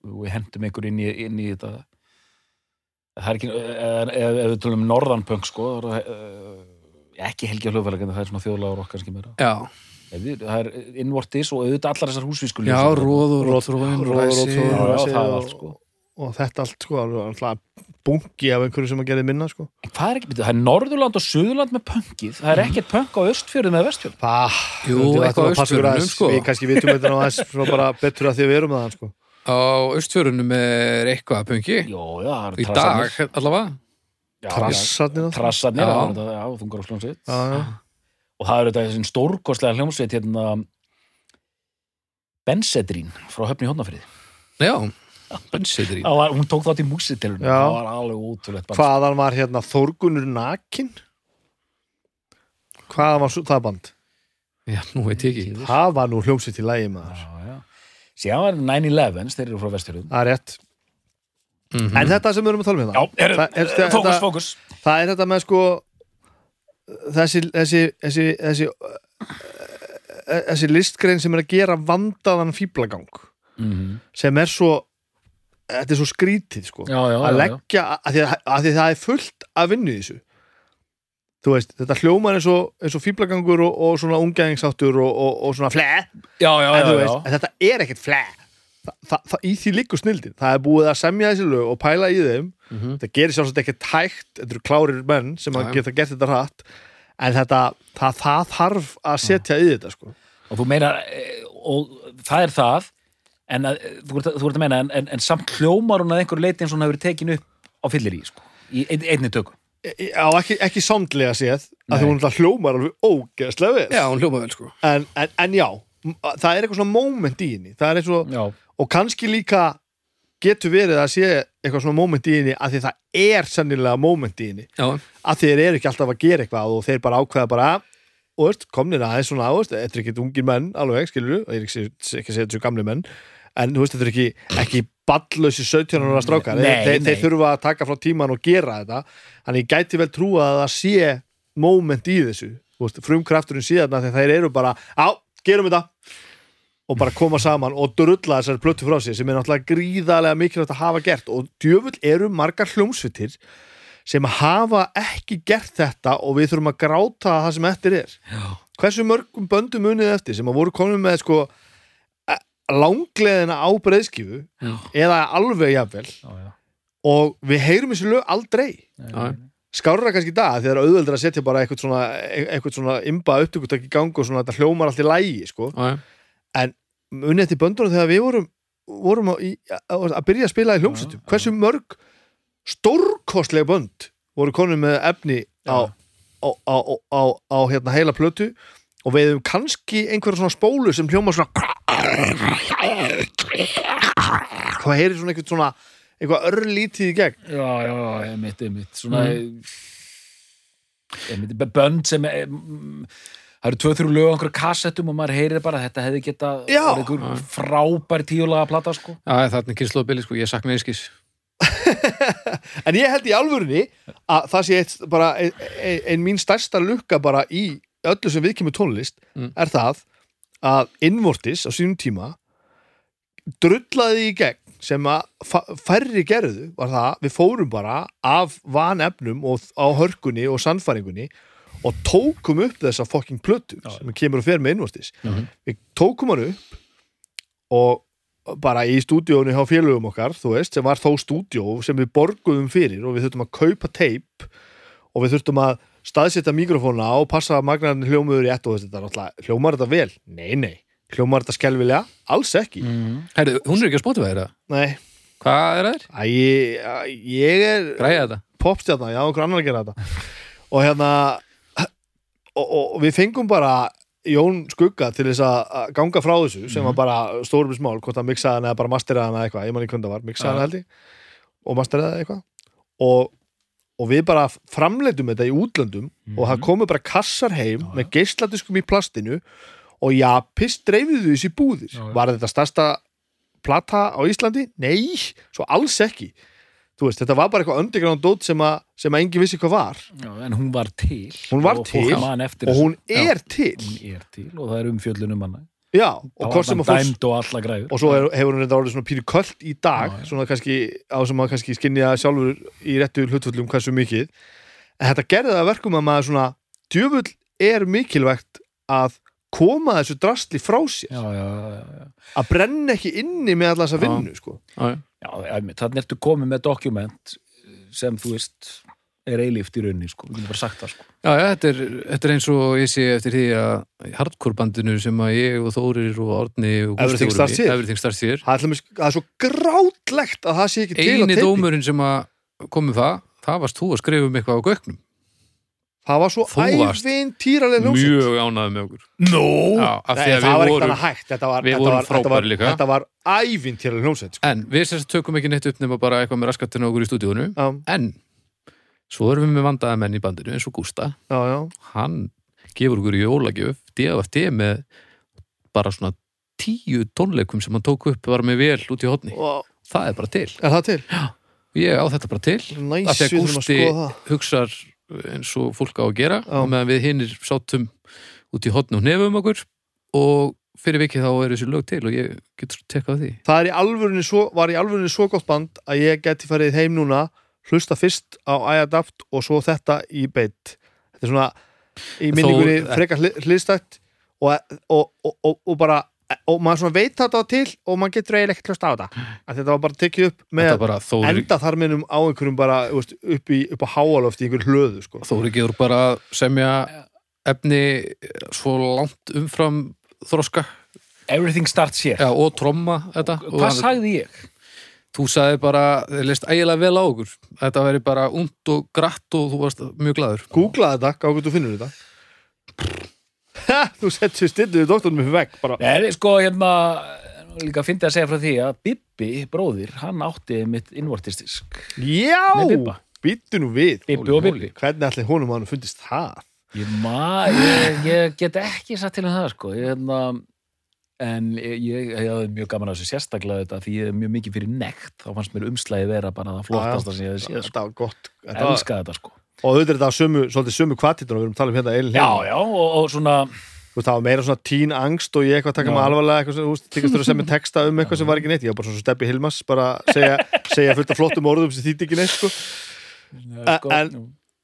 S2: og við hendum einhver inn í, inn í þetta það er ekki, ef- ef ef við tölum um norðanpönk, sko, það er eh, ekki helgi hljóðverðlegandi, það er svona þjóðlagur okkar kannski meira.
S1: já,
S2: Ef við- Það er innvortis og auðvitað allar þessar húsvískuljóð.
S1: já, róð og
S3: Róð-
S1: rótróin
S3: róð og rótþróin,
S2: Já, já,
S3: Rósi
S2: það er
S3: og-
S2: allt, sko.
S3: og þetta allt sko, alveg náttúrulega bungi af einhverju sem að gera minna sko.
S2: En hvað er ekki, byrju, það er Norðurland og Suðurland með pönkið, það
S1: Mhm.
S2: er ekkert pönk á Östfjörðum eða Vestfjörðum.
S3: Pah,
S1: Jú,
S3: þetta er
S1: eitthvað
S3: bara að passa okkur
S2: um
S1: austfjörðunum,
S3: aðeins.
S1: sko.
S3: Við kannski vitum þetta nú aðeins frá bara betur að því að við erum með hann sko.
S1: á austfjörunum er eitthvað að pöngi
S2: Jó, já, það eru
S1: í dag allavega
S2: Já,
S3: Trassarnir
S2: já,
S3: og-
S2: Trassarnir,
S1: Já.
S2: það er þetta, já, þungar og hljómsveit.
S3: Já, já.
S2: Og það eru þetta þessin stórkostlega hljómsveit hérna Bensedrín frá Höfni Hónafrið.
S1: já, bensitrýn
S2: Það var, hún tók þátt í músitilunum,
S3: Já.
S2: það var alveg ótrúlegt. band.
S3: Hvaðan var hérna Þorgunur Nakin? Hvaðan var svo, það band?
S1: já, nú veit ég ekki
S3: Það var nú hljómsitt í lægi maður.
S2: Já, já. Síðan var 9-11, þeir eru frá Vestfjörðum.
S3: Það er rétt.
S1: Mhm.
S2: Mm.
S3: En þetta sem við erum að tala um
S2: Já,
S3: hérna,
S2: er,
S3: Það- er- þetta-
S2: fókus, fókus.
S3: það er þetta með sko þessi, þessi, þessi, þessi, eh, þessi listgrein sem er að gera vandaðan fíblagang
S2: Mm
S3: sem er svo, þetta er svo skrítið sko.
S2: Já, já,
S3: að
S2: já, já.
S3: leggja, að því að, að því að það er fullt að vinnu í þessu þú veist, þetta hljómar eins og, eins og fíblagangur og, og svona ungeðingsáttur og, og, og svona fle en,
S2: Já, já, já,
S3: þú
S2: já.
S3: veist, en þetta er ekkert fle Þa, það, það, í því liggur snildin það er búið að semja þessi lög og pæla í þeim
S1: Mhm.
S3: það gerir sjálfsagt ekkert hægt þetta eru klárir menn sem
S1: Já,
S3: að
S1: já.
S3: geta gert þetta rætt en þetta, það, það þarf að setja í þetta sko.
S2: og þú meinar eh, og það er það en að, eh, þú, ert, að- þú ert að meina en, en, en samt hljómar hún að einhver leiti eins og hún hefur verið tekin upp á fyllir í, sko, í ein, einni tökum
S3: Ég- ég- E, á ekki, ekki samtlega séð að
S2: Nei.
S3: því hún alltaf hljómar alveg ógeðslega vel
S1: já, hún hljóma vel sko
S3: en, en, en já, m- það er eitthvað svona moment í henni það er eins og
S2: já,
S3: og kannski líka getur verið að sé eitthvað svona moment í henni að því það er sennilega moment í henni
S1: já,
S3: að þeir eru ekki alltaf að gera eitthvað og þeir bara ákveða bara og veist, komnir aðeins svona, þú veist, þetta er ekkert ungir menn alveg, skilur og ég er ekki, ekki að segja þessu gamli menn en þú veist, þetta er ekki, ekki ballösi 17 ára strákar,
S2: Nei,
S3: þeir, þeir,
S2: nei.
S3: þeir þurfa að taka frá tíman og gera þetta þannig ég gæti vel trúa að það sé moment í þessu, þú veist, frumkrafturinn síðan þegar þeir eru bara, á, gerum þetta og bara koma saman og drulla þessari plötu frá sér sem er náttúrulega gríðarlega mikilvægt að hafa gert og djöfull eru margar hljómsvittir sem hafa ekki gert þetta og við þurfum að gráta það sem eftir er
S2: já,
S3: hversu mörgum böndum munið eftir sem að voru komin með sko eh, langleðina á breiðskifu
S1: Já.
S3: eða alveg jafnvel
S2: já, já.
S3: og við heyrum þessu lög aldrei
S1: já,
S3: skárra kannski í dag því það er auðveldur að setja bara eitthvað svona, e, eitthvað svona imba upptökutak í gang og svona þetta hljómar allt í lægi sko.
S1: já,
S3: munið eftir böndunum þegar við vorum, vorum að, að, að byrja að spila í hljómsutum
S2: Já, já.
S3: hversu mörg stórkostlega bönd voru konum með efni á,
S2: Já.
S3: á, á, á, á, á hérna heila plötu og við hefum kannski einhverja svona spólu sem hljóma svona hvað heyrir svona eitthvað svona eitthvað örlítið í gegn
S2: já, já, einmitt, einmitt svona
S3: Mhm.
S2: einmitt, b- bönd sem eh, mm, það eru tvö-þrjú lög á einhverju kassettum og maður heyrir bara að þetta hefði geta
S3: Já.
S2: einhver frábær tíulaga plata, sko
S1: þarna er kynnslóðbili sko, ég sakna einskis
S3: en ég held í alvörunni að það sé eitt, bara ein, ein, ein mín stærsta lukka bara í öllu sem við kemur tónlist
S1: Mm.
S3: er það að innvortis á sínum tíma drullaði í gegn sem að fa- færri gerðu var það við fórum bara af vanefnum og á hörkunni og sannfæringunni og tókum upp þessa fucking plötu sem kemur og fer með innvortis
S1: Mhm.
S3: við tókum hann upp og bara í stúdíónu hjá félögum okkar þú veist, sem var þó stúdíó sem við borguðum fyrir og við þurftum að kaupa teip og við þurftum að staðsetja mikrofóna og passa að magnarinn hljómuður rétt og þetta er náttúrulega, hljómar þetta vel? Nei, nei, hljómar þetta skelvilega? Alls ekki
S2: mm.
S1: Herðu, hún er ekki að spota það, er það?
S3: Nei,
S1: Hvað er það?
S3: að ég, að ég er
S1: Græja þetta?
S3: popstjarnar, já, okkur annar að gera þetta og hérna og, og, og við fengum bara Jón Skugga til þess að að ganga frá þessu sem
S1: Mhm.
S3: var bara stórbrísmál hvort að miksaði hann eða bara masteraði hann eða eitthvað ég mann ekki hvernig það var, miksaði hann
S2: Já.
S3: held ég og masteraði eða eitthvað og, og við bara framleitum þetta í útlöndum og
S1: Mhm.
S3: það komu bara kassar heim með geisladiskum í plastinu og já, piss dreifiðu þessi búðir
S1: Já, já.
S3: var þetta stærsta plata á Íslandi? Nei, svo alls ekki þú veist, þetta var bara eitthvað underground dót sem að, sem að engin vissi hvað var
S2: Já, en hún var til
S3: Hún var
S2: og fólk
S3: til
S2: man eftir
S3: og
S2: þessu.
S3: hún er til
S2: hún er til og það er umfjöllun um hana
S3: Já, og
S2: Þá
S3: hvort
S2: var
S3: sem
S2: mann
S3: að fólks
S2: dæmd og alla græður
S3: og svo er, hefur hún reynda orðið svona pínu kvöld í dag
S2: Já, já.
S3: svona kannski á sem að kannski skinja sjálfur í réttu hlutfullum hversu mikið en þetta gerði það að verkum að maður svona djöfull er mikilvægt að koma þessu drastli frá sér
S2: já, já, já, já.
S3: að brenna ekki inni með alla þessa
S1: Já.
S3: vinnu sko.
S1: já,
S2: já einmitt, þannig ertu komið með dokument sem þú veist er eilíft í rauninni sko, við getum bara sagt það sko
S1: já, já þetta, er, þetta er eins og ég sé eftir því að hardcore bandinu sem að ég og Þórir og Árni og Gústi
S3: Everything
S1: vorum
S3: Starts
S1: í,
S3: Here.
S1: Everything Starts Here
S3: það, er til dæmis- það er svo grátlegt að það sé ekki til
S1: eini
S3: að teipi
S1: dómurinn sem að komum það það varst þú að skrifa um eitthvað á gögnum
S3: það var svo
S1: Þú varst
S3: ævintýralega hljómsveit
S1: mjög ánaði með okkur
S2: no.
S1: já, af því
S3: Nei,
S1: að
S3: það
S1: við
S3: var ekkert
S1: vorum
S3: annað hægt þetta var,
S1: við
S3: þetta
S1: vorum
S3: var, þetta var,
S1: frábærir líka.
S3: þetta var ævintýralega hljómsveit sko.
S1: en við sérst tökum ekki neitt upp nema bara eitthvað með raskatinn á okkur í stúdíónu
S3: já,
S1: en svo erum við með vandaða menn í bandinu eins og Gústa
S3: já, já
S1: hann gefur okkur í jólagjöf DFT með bara svona tíu tónleikum sem hann tók upp var með vel út í hodni
S3: Og-
S1: það er bara til,
S3: Er það til?
S1: ég á þetta bara til
S3: Næs,
S1: af því að
S3: við þurfum að
S1: Gústi
S3: skoða það.
S1: hugsar eins og fólk á að gera
S3: Já.
S1: og meðan við hinnir sátum út í hotn og nefum okkur og fyrir vikið þá eru þessi lög til og ég getur tekkað á því
S3: Það er í alvörunni svo, var í alvörunni svo gott band að ég geti farið heim núna hlusta fyrst á iAdapt og svo þetta í beitt. Þetta er svona í
S1: Þó-
S3: minningunni frekar hli- hliðstætt og, og, og, og, og bara og maður svona veit þetta til og maður getur eiginlega ekkert hlusta á þetta. Að þetta var bara tekið upp með
S1: þetta bara Þóri,
S3: enda þar minnum á einhverjum bara þú veist, upp, í, upp á háaloft í einhverju hlöðu sko.
S1: Þóri gefur bara að semja efni svo langt umfram þroska
S2: everything starts here
S1: ja, og tromma þetta og
S2: hvað
S1: hann-
S2: sagði ég?
S1: þú sagði bara, þeir leist ægilega vel á okkur þetta veri bara und og gratt og þú varst mjög glaður
S3: Googla þetta, gá hvað þú finnur þetta. Ha, þú setjum stilluðu doktornum upp vekk bara.
S2: Nei, sko, hérna líka fyndi að segja frá því að Bibbi, bróðir, hann átti mitt innvortistisk
S3: Já,
S2: Nei, Bibba.
S3: býttu nú við
S2: Bibbi og Bibbi
S3: Hvernig allir honum hann fundist það?
S2: Ég, ma, ég, ég get ekki satt til um það sko ég, hérna, en ég, ég, ég hafði mjög gaman að þessu sérstaklega þetta því ég er mjög mikið fyrir nekt þá fannst mér umslæði vera bara það flottasta sem ég hefði séð sko.
S3: Þetta var gott þetta var,
S2: elskaði þetta sko
S3: Og auðvitað er þetta sömu, svolítið sömu kvartitur og við erum talað um hérna eilin
S2: já, já, og, og svona
S3: Þú veist, það var meira svona tín angst og ég eitthvað taka
S2: Já.
S3: mig alvarlega eitthvað sem, þú veist, þykist þú að semja texta um eitthvað sem var ekki neitt Ég var bara svona steppi Hilmas, bara segja, segja fullt af flottum orðum sem þýtti ekki neitt sko.
S2: sko,
S3: en-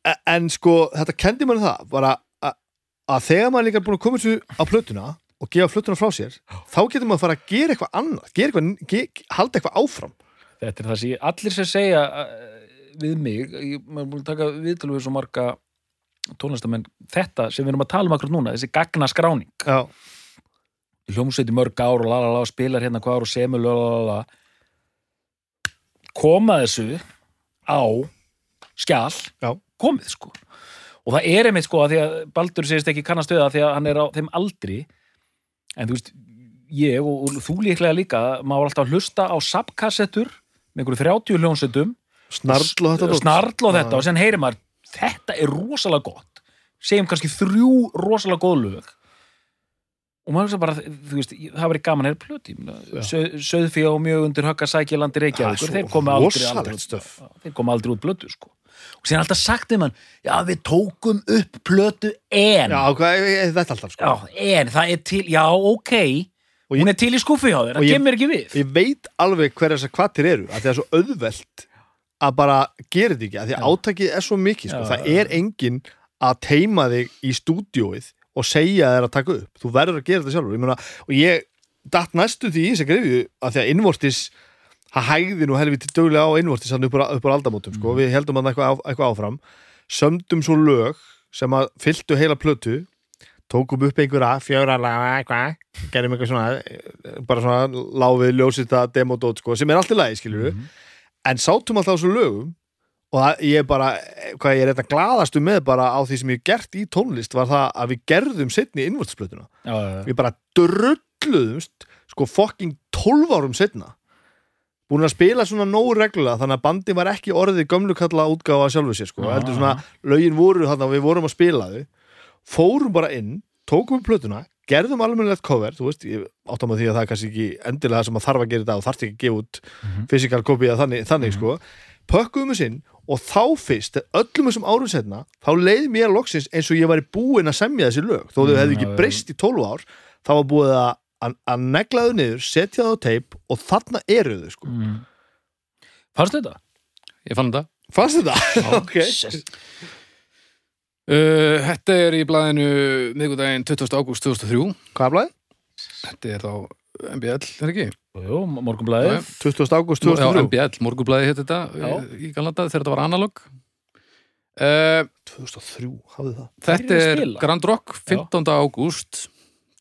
S3: E- En sko, þetta kendi mann það bara að- að þegar maður er líka búin að koma þessu á plötuna og gefa plötuna frá sér þá getur maður að fara að gera eitthvað annað gera eitthvað, ge, halda eitthvað áfram
S2: þetta er það sem ég, allir sem segja eh, við mig, ég, maður er búin að taka viðtölu við svo marga tónlistamenn þetta sem við erum að tala um akkur núna þessi gagna skráning
S3: Já,
S2: hljómsveit í mörg ár og lalala og spilar hérna hvað ár og semur lalala koma þessu á skjal
S3: Já.
S2: komið sko og það er einmitt sko að því að Baldur segist ekki kannast við það því að hann er á þeim aldri en þú veist ég og, og þú líklega líka maður var alltaf að hlusta á sabkassettur með einhverju 30 hljómsveitum
S3: snarl og þetta dót.
S2: snarl og þetta
S3: Já.
S2: og sen heyrir maður þetta er rosalega gott segjum kannski þrjú rosalega góð lög og maður hugsa bara þú veist, ég- það verið gaman að heyra
S3: Já.
S2: plöti Söðfi og mjög undir högga sækjalandi
S3: Það er
S2: reykjavíkur,
S3: svo
S2: þeir koma aldrei,
S3: rosalegt
S2: aldrei
S3: stöf.
S2: Já, þeir koma aldrei út plötu sko og síðan alltaf sagt þeim hann já við tókum upp plötu en
S3: Já, hvað, e- e- þetta alltaf sko
S2: Já, en það er til, já ok
S3: Og
S2: hún
S3: ég-
S2: er til í skúfi hjá þér,
S3: og
S2: það
S3: ég-
S2: kemur ekki við
S3: Ég veit alveg hver þessar kvatir eru að það er svo auðvelt að bara gera þetta ekki, að því
S2: Já.
S3: átakið er svo mikið sko.
S2: Já,
S3: það
S2: já, já.
S3: er enginn að teima þig í stúdíóið og segja þér að taka upp, þú verður að gera þetta sjálfur ég meina, og ég datt næstu því í þess að grefi að því að innvortis það hægði nú helviti dögulega á innvortis hann upp á, upp á aldamótum,
S2: Mm.
S3: sko, við heldum að eitthvað, á- eitthvað áfram sömdum svo lög sem að fylltu heila plötu tókum upp einhverja fjögra laga eitthvað, gerum eitthvað svona eh, bara svona láfið ljósita demodót sko, sem er allt í lagi skilur en sátum alltaf á þessu lögum og og það, ég er bara, hvað ég er eitthvað glaðastu með bara á því sem ég hef gert í tónlist var það að við gerðum setni innvörtsplötuna
S2: já, já, já.
S3: við bara drulluðumst sko fokking 12 árum setna búin að spila svona nógu reglulega þannig að bandi var ekki orðið gömlu kalla útgáfa af sjálfu sér sko
S2: Já,
S3: heldur svona lögin voru þannig að við vorum að spila þau fórum bara inn, tókum við plötuna gerðum almennilegt cover, þú veist ég áttam að því að það er kannski ekki endilega það sem að þarf að gera þetta og þarf ekki að gefa út
S2: Mhm.
S3: physical copy eða þannig, þannig sko pökkuðum við sinn og þá fyrst öllum þessum árum setna, þá leið mér loksins eins og ég væri búinn að semja þessi lög þó þau
S2: Mm,
S3: hefðu
S2: já, já.
S3: ekki breyst í 12 ár þá var búið að, að, að negla þau niður setja þau á teip og þarna eru þau sko
S2: Mm. Fannstu þetta?
S1: Ég fann þetta.
S3: fannst þetta? ok
S2: Sess.
S1: Uh, þetta er í blæðinu miðgudaginn 20. ágúst 2003.
S3: hvað er blæði?
S1: Þetta er þá MBL, er ekki?
S2: Jú,
S1: Já, já.
S2: morgunblæðið
S3: 20. ágúst
S1: Já,
S3: 2003
S1: MBL, morgublaði hétt þetta
S2: Já.
S1: uh, í galanda þegar þetta var analog. Uh,
S3: 2003, hafðu það
S2: Hverjir eru
S1: þetta
S2: að
S1: er
S2: spila?
S1: Grand Rock 15. ágúst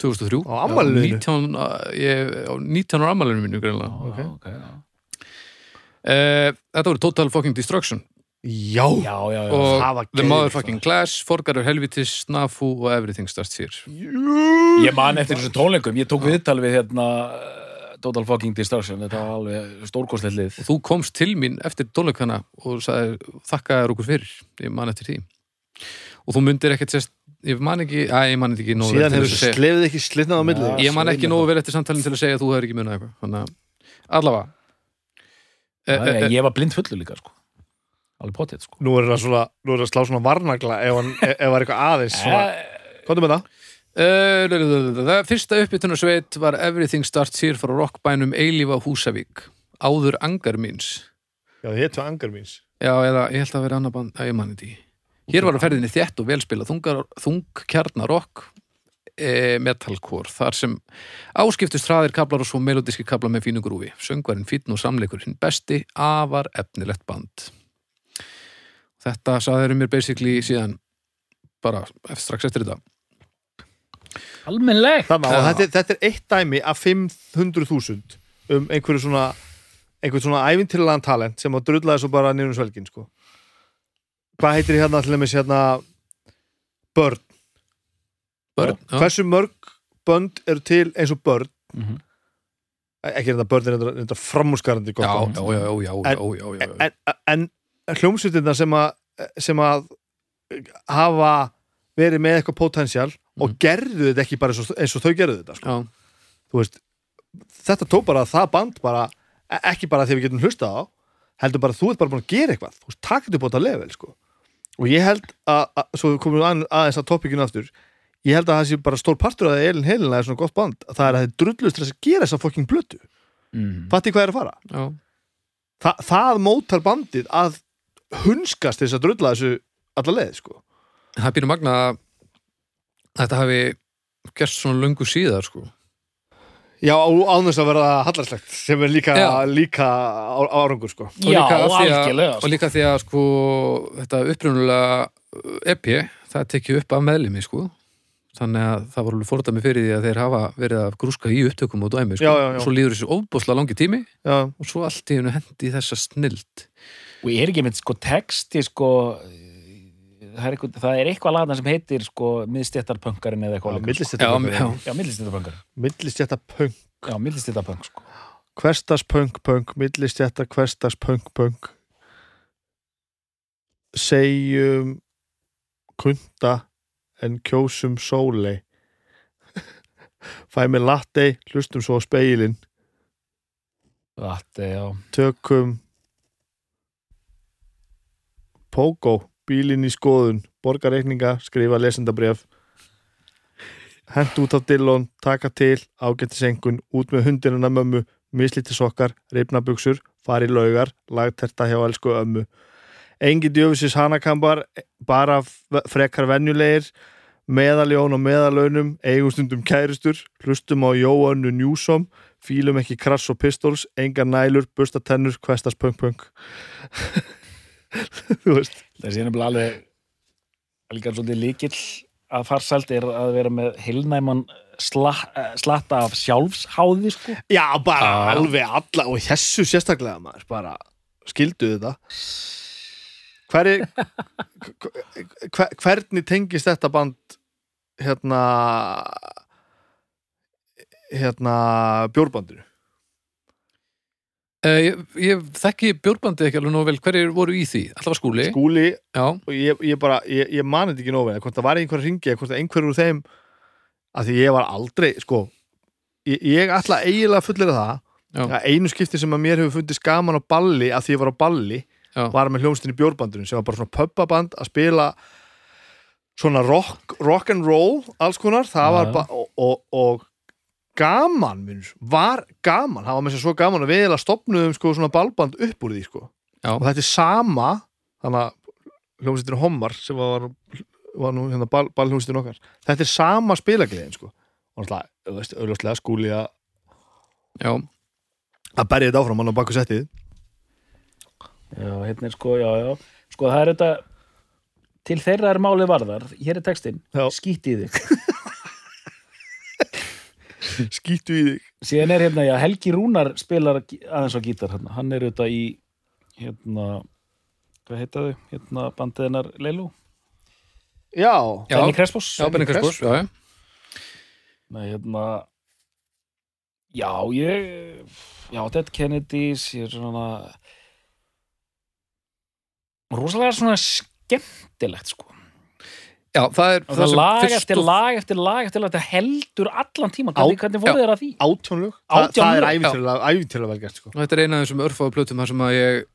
S1: 2003.
S3: Á afmælinu þínu?
S1: 19, uh, ég, á 19 ára ammælinu mínu, greinlega.
S2: Já,
S3: Ok.
S2: ok, já.
S1: Uh, þetta voru Total Fucking Destruction
S3: já,
S2: Já, já, já.
S1: og
S3: það var
S1: The
S3: geðveikt
S1: Motherfucking Clash, Forgar og Helvitis, Snafu og Everything Starts Here.
S2: Ég man eftir þessu tónleikum, ég tók viðtal við hérna eh, Total Fucking Destruction, þetta var alveg stórkostlegt lið.
S1: og þú komst til mín eftir tónleikana og sagði, þakkaði okkur fyrir ég man eftir því og þú myndir ekkert sérst, ég man ekki að ég man ekki nógu vel
S3: síðan
S1: til
S3: hefur
S1: þess að segja
S3: slefið ekki slitnað á milli
S2: Já.
S1: ég man ekki
S2: Sveinið
S1: nógu vel eftir samtalin til að segja að þú hefur ekki munið eitthvað þannig að allavega e,
S2: Það
S1: e,
S2: er-
S1: e,
S2: Ég var blind fullu líka, sko. Alveg potið, sko.
S3: nú er það svona, nú er það slá svona varnagla ef hann, ef það er eitthvað aðeins svona.
S2: Eh,
S3: komdu með það
S1: e, e, e, e, e, fyrsta uppbytunarsveit var Everything Starts Here frá rockbænum Eilífa Húsavík áður angar míns
S3: já, það hétu angar míns
S1: já eða ég held að vera annar band að ég man þetta ekki Hér var á ferðinni þétt og velspila þungar, þung kjarnarokk e, metalcore, þar sem áskiptust hraðir kablar og svo melodíski kablar með fínu grúfi. Söngvarinn fínn og samleikurinn besti, afar efnilegt band. Þetta saðið um mér basically síðan bara ef- strax eftir þetta.
S2: Almennlegt.
S3: Þannig
S1: Já.
S3: að þetta, er- þetta er eitt dæmi af 500.000 um einhverju svona einhverju svona æfintillan talent sem að drullaði svo bara nýrum svelgin sko. Hvað heitir hérna til dæmis hérna börn?
S1: Börn, já,
S3: Hversu mörg bönd eru til eins og börn?
S2: Mhm.
S3: Ekki hérna börn er þetta- þetta framúrskarandi
S1: já,
S3: gott
S1: já,
S3: á.
S1: já, já, já, já, já, já, já.
S3: En, en hljómsveitirna sem að sem að hafa verið með eitthvað potensial og
S1: Mhm.
S3: gerðu þetta ekki bara eins og, eins og þau gerðu þetta sko.
S1: Já,
S3: þú veist, þetta tók bara að það band bara, e- ekki bara þegar við getum hlustað á, heldur bara að þú ert bara búin að gera eitthvað, þú veist, takk þetta upp á þetta level sko. og ég held að, að svo við komum við að, aðeins að topikinu aftur ég held að það sé bara stór partur að Elin Helena er svona gott band, að það er að þið drullust til þess að gera þess að fokking blötu,
S2: Mm.
S3: fatti hvað er að fara
S1: já.
S3: Þa, það mótar bandið að hunskast til þess að drulla þessu alla leið, sko
S1: Það býr magna að þetta hafi gerst svona löngu síðar, sko.
S3: Já, án þess að vera hallarslegt sem er líka,
S1: Já.
S3: líka á- árangur, sko
S1: Og
S2: Já,
S1: líka af því að-
S2: algjörlega.
S1: og
S2: sko.
S1: líka því að sko þetta upprunulega EP það tekju upp af meðlimi sko þannig að það voru alveg fordæmi fyrir því að þeir hafa verið að grúska í upptökum og dæmi sko.
S3: Já, já, já.
S1: og svo líður þessu ofbúsla langi tími
S3: Já,
S1: og svo allt í hennu hendi þessa snild
S2: Og ég er ekki með, sko, texti, sko, eh, það er eitthvað, það er eitthvað lagna sem heitir, sko, miðstjættarpönkarinn eða eitthvað. líka, sko.
S3: millist þetta
S2: Já, millistjættarpönkarinn.
S3: millist þetta punk
S2: Já, millistjættarpönk, sko.
S3: hverstas punk punk, millistjætta hverstas punk punk segjum kunda en kjósum sólei fæ mér latte hlustum svo á speilin
S2: Þetta, já.
S3: tökum pogo bílinn í skoðun, borga reikninga skrifa lesendabref hent út á dillon, taka til ágættisengun, út með hundinuna mömmu mislíti sokkar, reifnabuxur fari laugar, lagterta hjá elsku ömmu engi djöfisins hanakambar, bara f- frekar venjulegir, meðaljón og meðalönum, eigum stundum kærustur hlustum á Jóhannu Njúsom fílum ekki krass og pistols engar nælur, busta tennur, kvestas punk punk þú veist
S2: Það sé nefnilega alveg líka svolítið líkill að farsælt er að vera með heilnæman sla, eh, slatta af sjálfsháði sko.
S3: já, bara
S1: Já.
S3: alveg alla og þessu sérstaklega maður, bara skildu þetta hver er, hver, hvernig tengist þetta band hérna hérna bjórbandinu
S1: Eh, ég, ég þekki bjórbandið ekki alveg nóg vel hverjir voru í því, alltaf skúli,
S3: skúli
S1: já,
S3: og ég, ég bara, ég, ég mani þetta ekki nóg vel hvort það var einhver ringi eða hvort það einhver úr þeim að því ég var aldrei sko, ég, ég ætla eiginlega fullir að það
S1: Já.
S3: að einu skipti sem að mér hefur fundist gaman á balli að því ég var á balli
S1: Já.
S3: var með hljómstinni bjórbandurinn sem var bara svona pöppaband að spila svona rock, rock and roll alls konar, það
S2: Já.
S3: var bara og, og, og gaman minnur, var gaman, það var með sér svo gaman að við eða stopnuðum sko svona ballband upp úr því sko
S1: já,
S3: og þetta er sama þannig að hljómsveitin Hommar sem var, var nú hérna ball, ballhljómsveitin okkar þetta er sama spilagliðin sko og náttúrulega, þú veist, auðvitað skúli að
S1: já,
S3: að berja þetta áfram hann á baku settið
S2: Já, hérna er sko, já, já Sko, það er þetta Til þeirra er málið varðar, hér er textin
S3: Já.
S2: Skýtt í þig
S3: skýttu í þig
S2: Síðan er hérna, já, Helgi Rúnar spilar gí- aðeins á gítar hérna Hann er auðvitað í, hérna Hvað heita þau? Hérna bandið hennar Leilu?
S3: já,
S1: Já.
S2: Benny Krespos?
S1: já, Benny Krespos, já, já,
S2: Nei, hérna Já, ég Já, Dead Kennedys Ég er svona Rosalega svona skemmtilegt, sko
S1: já, það er
S2: Og það lag
S1: fyrst
S2: eftir
S1: og-
S2: lag eftir lag eftir lag þetta heldur allan tíman,
S3: Á-
S2: hvernig, hvernig fóruð þeir að því?
S3: átjónlög
S2: Átján
S3: það
S2: lög,
S3: er
S1: já.
S3: æfintilega, æfintilega vel gert sko
S1: og þetta er eina af þessum örfáðu plötum þar sem að ég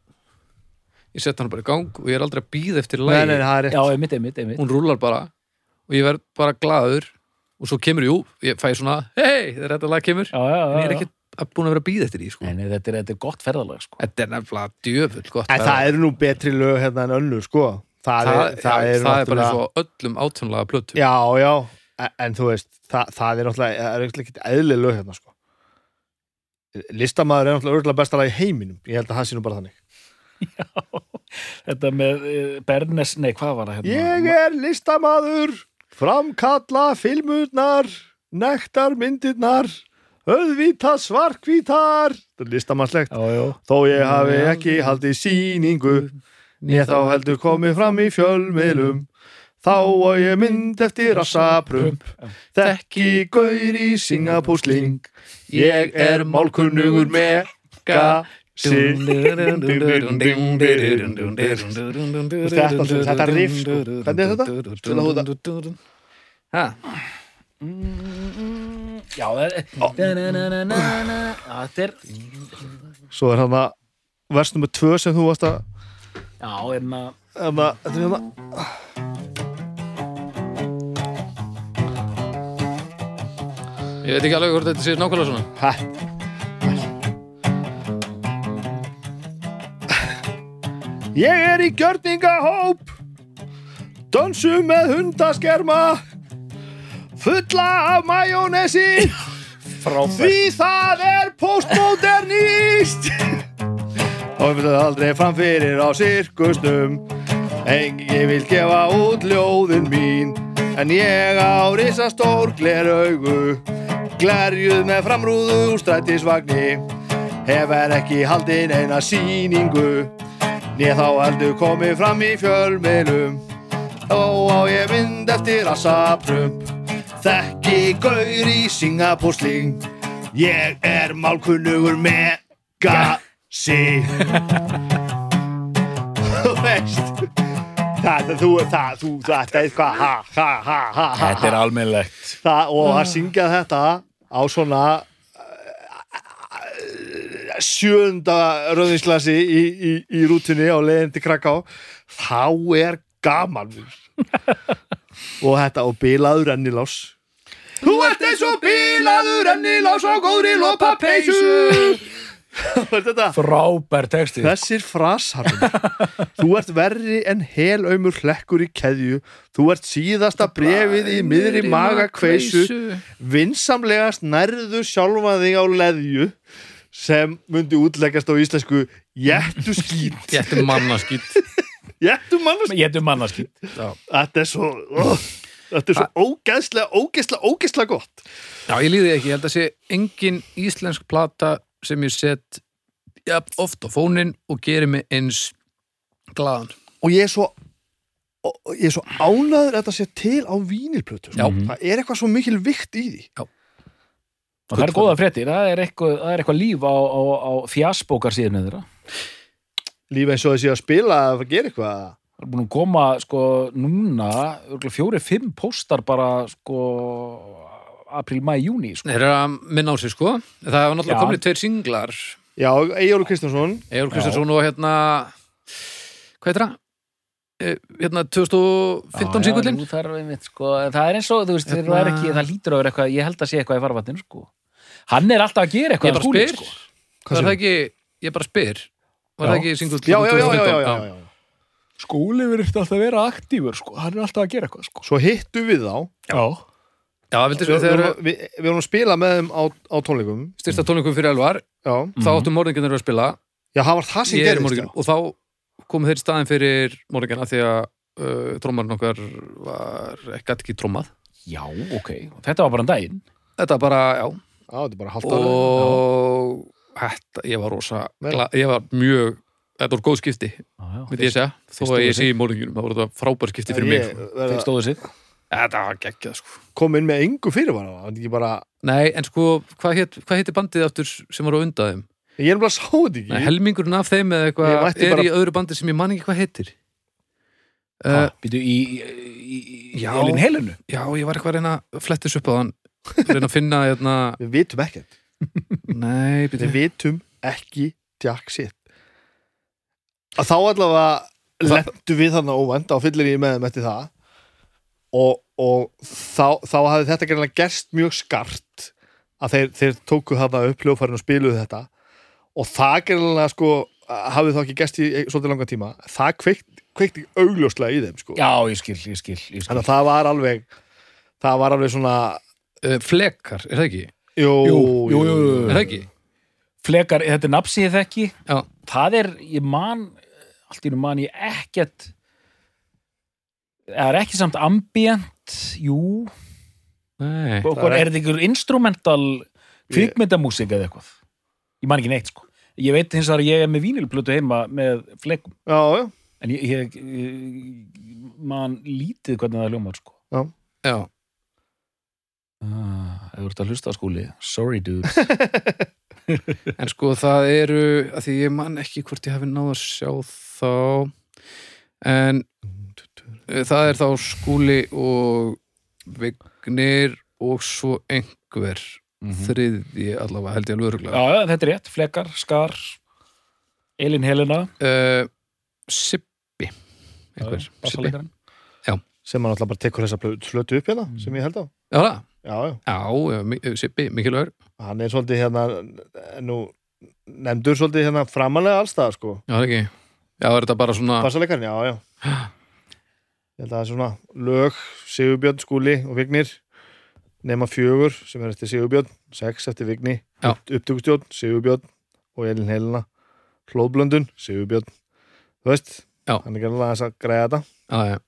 S1: ég set hann bara í gang og ég er aldrei að býða eftir
S3: nei, nei,
S1: lagi,
S3: það
S2: Já,
S3: er rétt sko.
S2: einmitt, einmitt, einmitt
S1: hún rúlar bara og ég verð bara glaður og svo kemur, jú, ég fæ svona hei, þegar þetta lag kemur,
S2: Já, já, já,
S1: en ég er
S2: já.
S1: ekki að- búin að vera að býða eftir því, sko
S2: Nei, nei, þetta er, þetta er gott ferðalag, sko
S1: þetta er nefnilega djöfull gott
S3: en
S1: ferðalag.
S3: það eru nú betri lög hérna en önnur sko það,
S1: það,
S3: er, það, er,
S1: það er bara
S3: náttúrulega-
S1: eins og á öllum átjónlega plötum
S3: Já, já, en, en þú veist það, það er náttúrulega, það er náttúrulega ekkert eðlileg lög hérna sko Listamaður er náttúrulega örugglega besta lag í heiminum Ég held að það sé nú bara þannig
S2: Þetta með uh, Bernes, nei, hvað var það
S3: Ég
S2: hérna?
S3: er listamaður, framkalla filmurnar, nektarmyndirnar, auðvita svarkvítar Það er listamannslegt
S2: Já, já,
S3: Þó ég hafi ekki haldið sýningu Ég þá heldur komið fram í fjölmiðlum Þá og ég mynd eftir rassaprum Þekki gaur í singapúsling Ég er málkunnugur mega sig
S1: Þetta
S3: Þetta- þetta riff, sko. Hvernig er þetta? Spila þú
S1: Ha,
S2: Mm, já það er Da-na-na-na-na-na. Já, þetta er
S3: Svo er hann að vers nummer tvö sem þú varst að
S2: Já, hérna
S3: hérna, Þetta er hérna
S1: Ég veit ekki alveg hvort þetta sé nákvæmlega svona
S3: Ha. Ég er í gjörningahóp Dönsum með hundaskerma Fulla af majónesi
S2: frábært
S3: Því það er postmodernist Og við það aldrei framfyrir á sirkustum Engi vil gefa út ljóðin mín En ég á risastór gleraugu Glerjuð með framrúðu úr strætisvagni Hefur ekki haldin eina sýningu Né þá heldur komið fram í fjölmiðlum Ó á ég mynd eftir rassaprum Þekki gaur í singapúsling Ég er málkunnugur megasi Þú veist Þetta, þú, það, þú, þetta er eitthvað ha, ha, ha, ha, ha,
S2: Þetta er almennlegt
S3: það, og að syngja þetta á svona eh, sjöunda röðinslasi í, í, í rútunni á leiðin til Kraká þá er gaman og þetta og bilaður ennilás Þú ert eins og bilaður ennilás á góðri lopa peysu Þetta
S2: Frábær texti
S3: Þessir frasar Þú ert verri en helaumur hlekkur í keðju Þú ert síðasta brefið í miðri maga kveisu Vinsamlegast nærðu sjálfa þig á leðju sem myndi útleggast á íslensku Jættu skýt
S1: Ég ætti manna skýtt
S3: Jættu mannast
S2: Ég hefði mannaskýtt
S3: Þetta er svo ó, Þetta er svo ógeðslega, ógeðslega, ógeðslega gott
S1: Já, ég líði ekki, ég held að sé engin íslensk plata sem ég set ja, oft á fóninn og gerir mig eins glaðan
S3: og ég er svo og og ég er svo ánæður að þetta sé til á vínilplötu sko.
S2: Já.
S3: það er eitthvað svo mikil vikt í því
S2: Og það er góða fréttir, það er eitthvað, það er eitthvað líf á, á, á fjasbókar síðan þeirra.
S3: lífa eins og þessi að spila að gera eitthvað
S2: Það er búin að koma, sko, núna, örugglega fjóri, fimm póstar bara, sko, apríl, mæ, júni, sko.
S1: Þeir eru að minna á sig sko Það hafa náttúrulega
S2: Já.
S1: komin tveir singlar
S3: já, Eyjólu Kristjánsson
S1: Egil Kristjánsson og hérna Hvað heitir það? Eh, Hérna 2015 singullin
S2: Já, já, nú þarf einmitt, sko. En Það er eins og, þú veist,
S1: Hérna-
S2: það, er ekki, það lítur að vera eitthvað, ég held að sé eitthvað í farvatninu, sko. Hann er alltaf að gera
S1: Ég
S2: eitthvað
S1: bara spyr
S2: sko.
S1: Var það ekki, ég bara spyr Var það
S2: Já.
S1: ekki singull
S3: já, já, já, já, já, já, já.
S2: Skúli verið alltaf að vera aktífur, sko. Hann er alltaf að gera eitthvað, sko.
S3: svo hittu við þá
S2: Já.
S1: Já, vildi
S3: við,
S1: svo
S3: við,
S1: þegar
S3: vorum- við, við vorum að spila með þeim á, á tónleikum
S1: styrsta tónleikum fyrir elvar
S3: já.
S1: Þá áttum morðingarnir að spila
S3: já, það var það
S1: Ég
S3: sem
S1: er í
S3: gerist
S1: morðingin
S3: já.
S1: Og þá komu þeir í staðin fyrir morðingarna Því að uh, trómarinn okkar var gæti ekki trómað
S2: Já, ok. Þetta var bara en daginn.
S1: Þetta bara, já
S3: Já, þetta er bara halvt ára
S1: Og þetta, ég var rosa
S3: Vel.
S1: gla- Ég var mjög Þetta voru góð skipti, myndi ég
S2: Já,
S1: segja, þó
S2: fyrst
S1: að ég
S2: voru
S1: sé í morðingunum, það voru þetta frábær skipti fyrir mig. sko.
S2: þeir stóðu sitt.
S1: Þetta var geggjað, sko.
S3: kom inn með engu fyrirvara það er ekki bara
S1: Nei, en sko, hvað hétt hvað hétti bandið aftur sem var á undaðum?
S3: ég er bara sá þetta
S1: Nei,
S3: ekki
S1: helmingurinn af þeim eða
S3: Ég
S1: eitthvað
S3: mætti
S1: er
S3: bara-
S1: í öðru bandi sem ég man ekki hvað heitir.
S2: Uh,
S1: Uh,
S2: Býtu í, í, í, í
S1: Já.
S2: Elin Helenu.
S1: já, ég var eitthvað að reyna að flettis upp á hann, reyna að finna, hérna,
S3: við vitum ekkert
S1: nei,
S3: við
S1: byrju.
S3: vitum ekki tjakk sitt að þá allavega
S1: Það-
S3: lendu við þannig óvænt á fyllir í með þeim eftir það og, og þá, þá hafði þetta gerðanlega gerst mjög skart að þeir, þeir tóku þarna upp hljófarinn og spiluðu þetta og það gerðanlega sko hafði þá ekki gerst í svolítið langan tíma það kveikt, kveikt augljóslega í þeim sko
S2: Já, ég skil, ég skil, ég skil.
S3: þannig að það var alveg það var alveg svona
S1: Uh, flekar, er það ekki?
S3: jú,
S2: Jú, jú, jú, jú.
S1: Er það ekki?
S2: Flekar, þetta er nafn sem ég þekki.
S1: Já,
S2: það er, ég man allt í nú man ég ekkert það er ekki samt ambient, jú
S1: nei.
S2: og
S3: Það
S2: hvað
S3: er-
S2: er þetta ykkur instrumental kvikmyndamúsik eða eitthvað ég man ekki neitt sko ég veit hins vegar að ég er með vínilplötu heima með flekum,
S3: já, já,
S2: en ég, ég, ég man lítið hvernig það hljómar sko
S1: Já,
S2: ah, ef þú ert að hlusta á skúli sorry dude
S1: en sko það eru, að því ég man ekki hvort ég hafi náð að sjá þá, en uh, það er þá skúli og vignir og svo einhver,
S2: Mhm.
S1: þriðji allavega, held ég alveg öruglega.
S2: já, já, þetta er rétt, flekar, skar Elin Helena
S1: uh, Sippi einhver, Sippi
S2: bassaleikarin.
S3: sem hann alltaf bara tekur þessa plö- flötu upp hérna sem ég held á
S1: Já, það?
S3: já, já,
S1: já, já, mi- eh, Sippi, mikilvægur
S3: hann er svolítið hérna eh, nú, nefndur svolítið hérna framalega allstaðar sko,
S1: Já, það er ekki Já, er þetta bara svona
S3: bassalekarinn, já, já ég held að það er svona lög, Sigurbjörn, Skúli og Vignir nema fjögur sem er eftir Sigurbjörn, sex eftir Vigni
S1: Já.
S3: upptökustjórn, Sigurbjörn og Elin Helena, hlóðblöndun Sigurbjörn, þú veist
S1: Já.
S3: hann er gerðilega þess að græða þetta
S1: Já, já,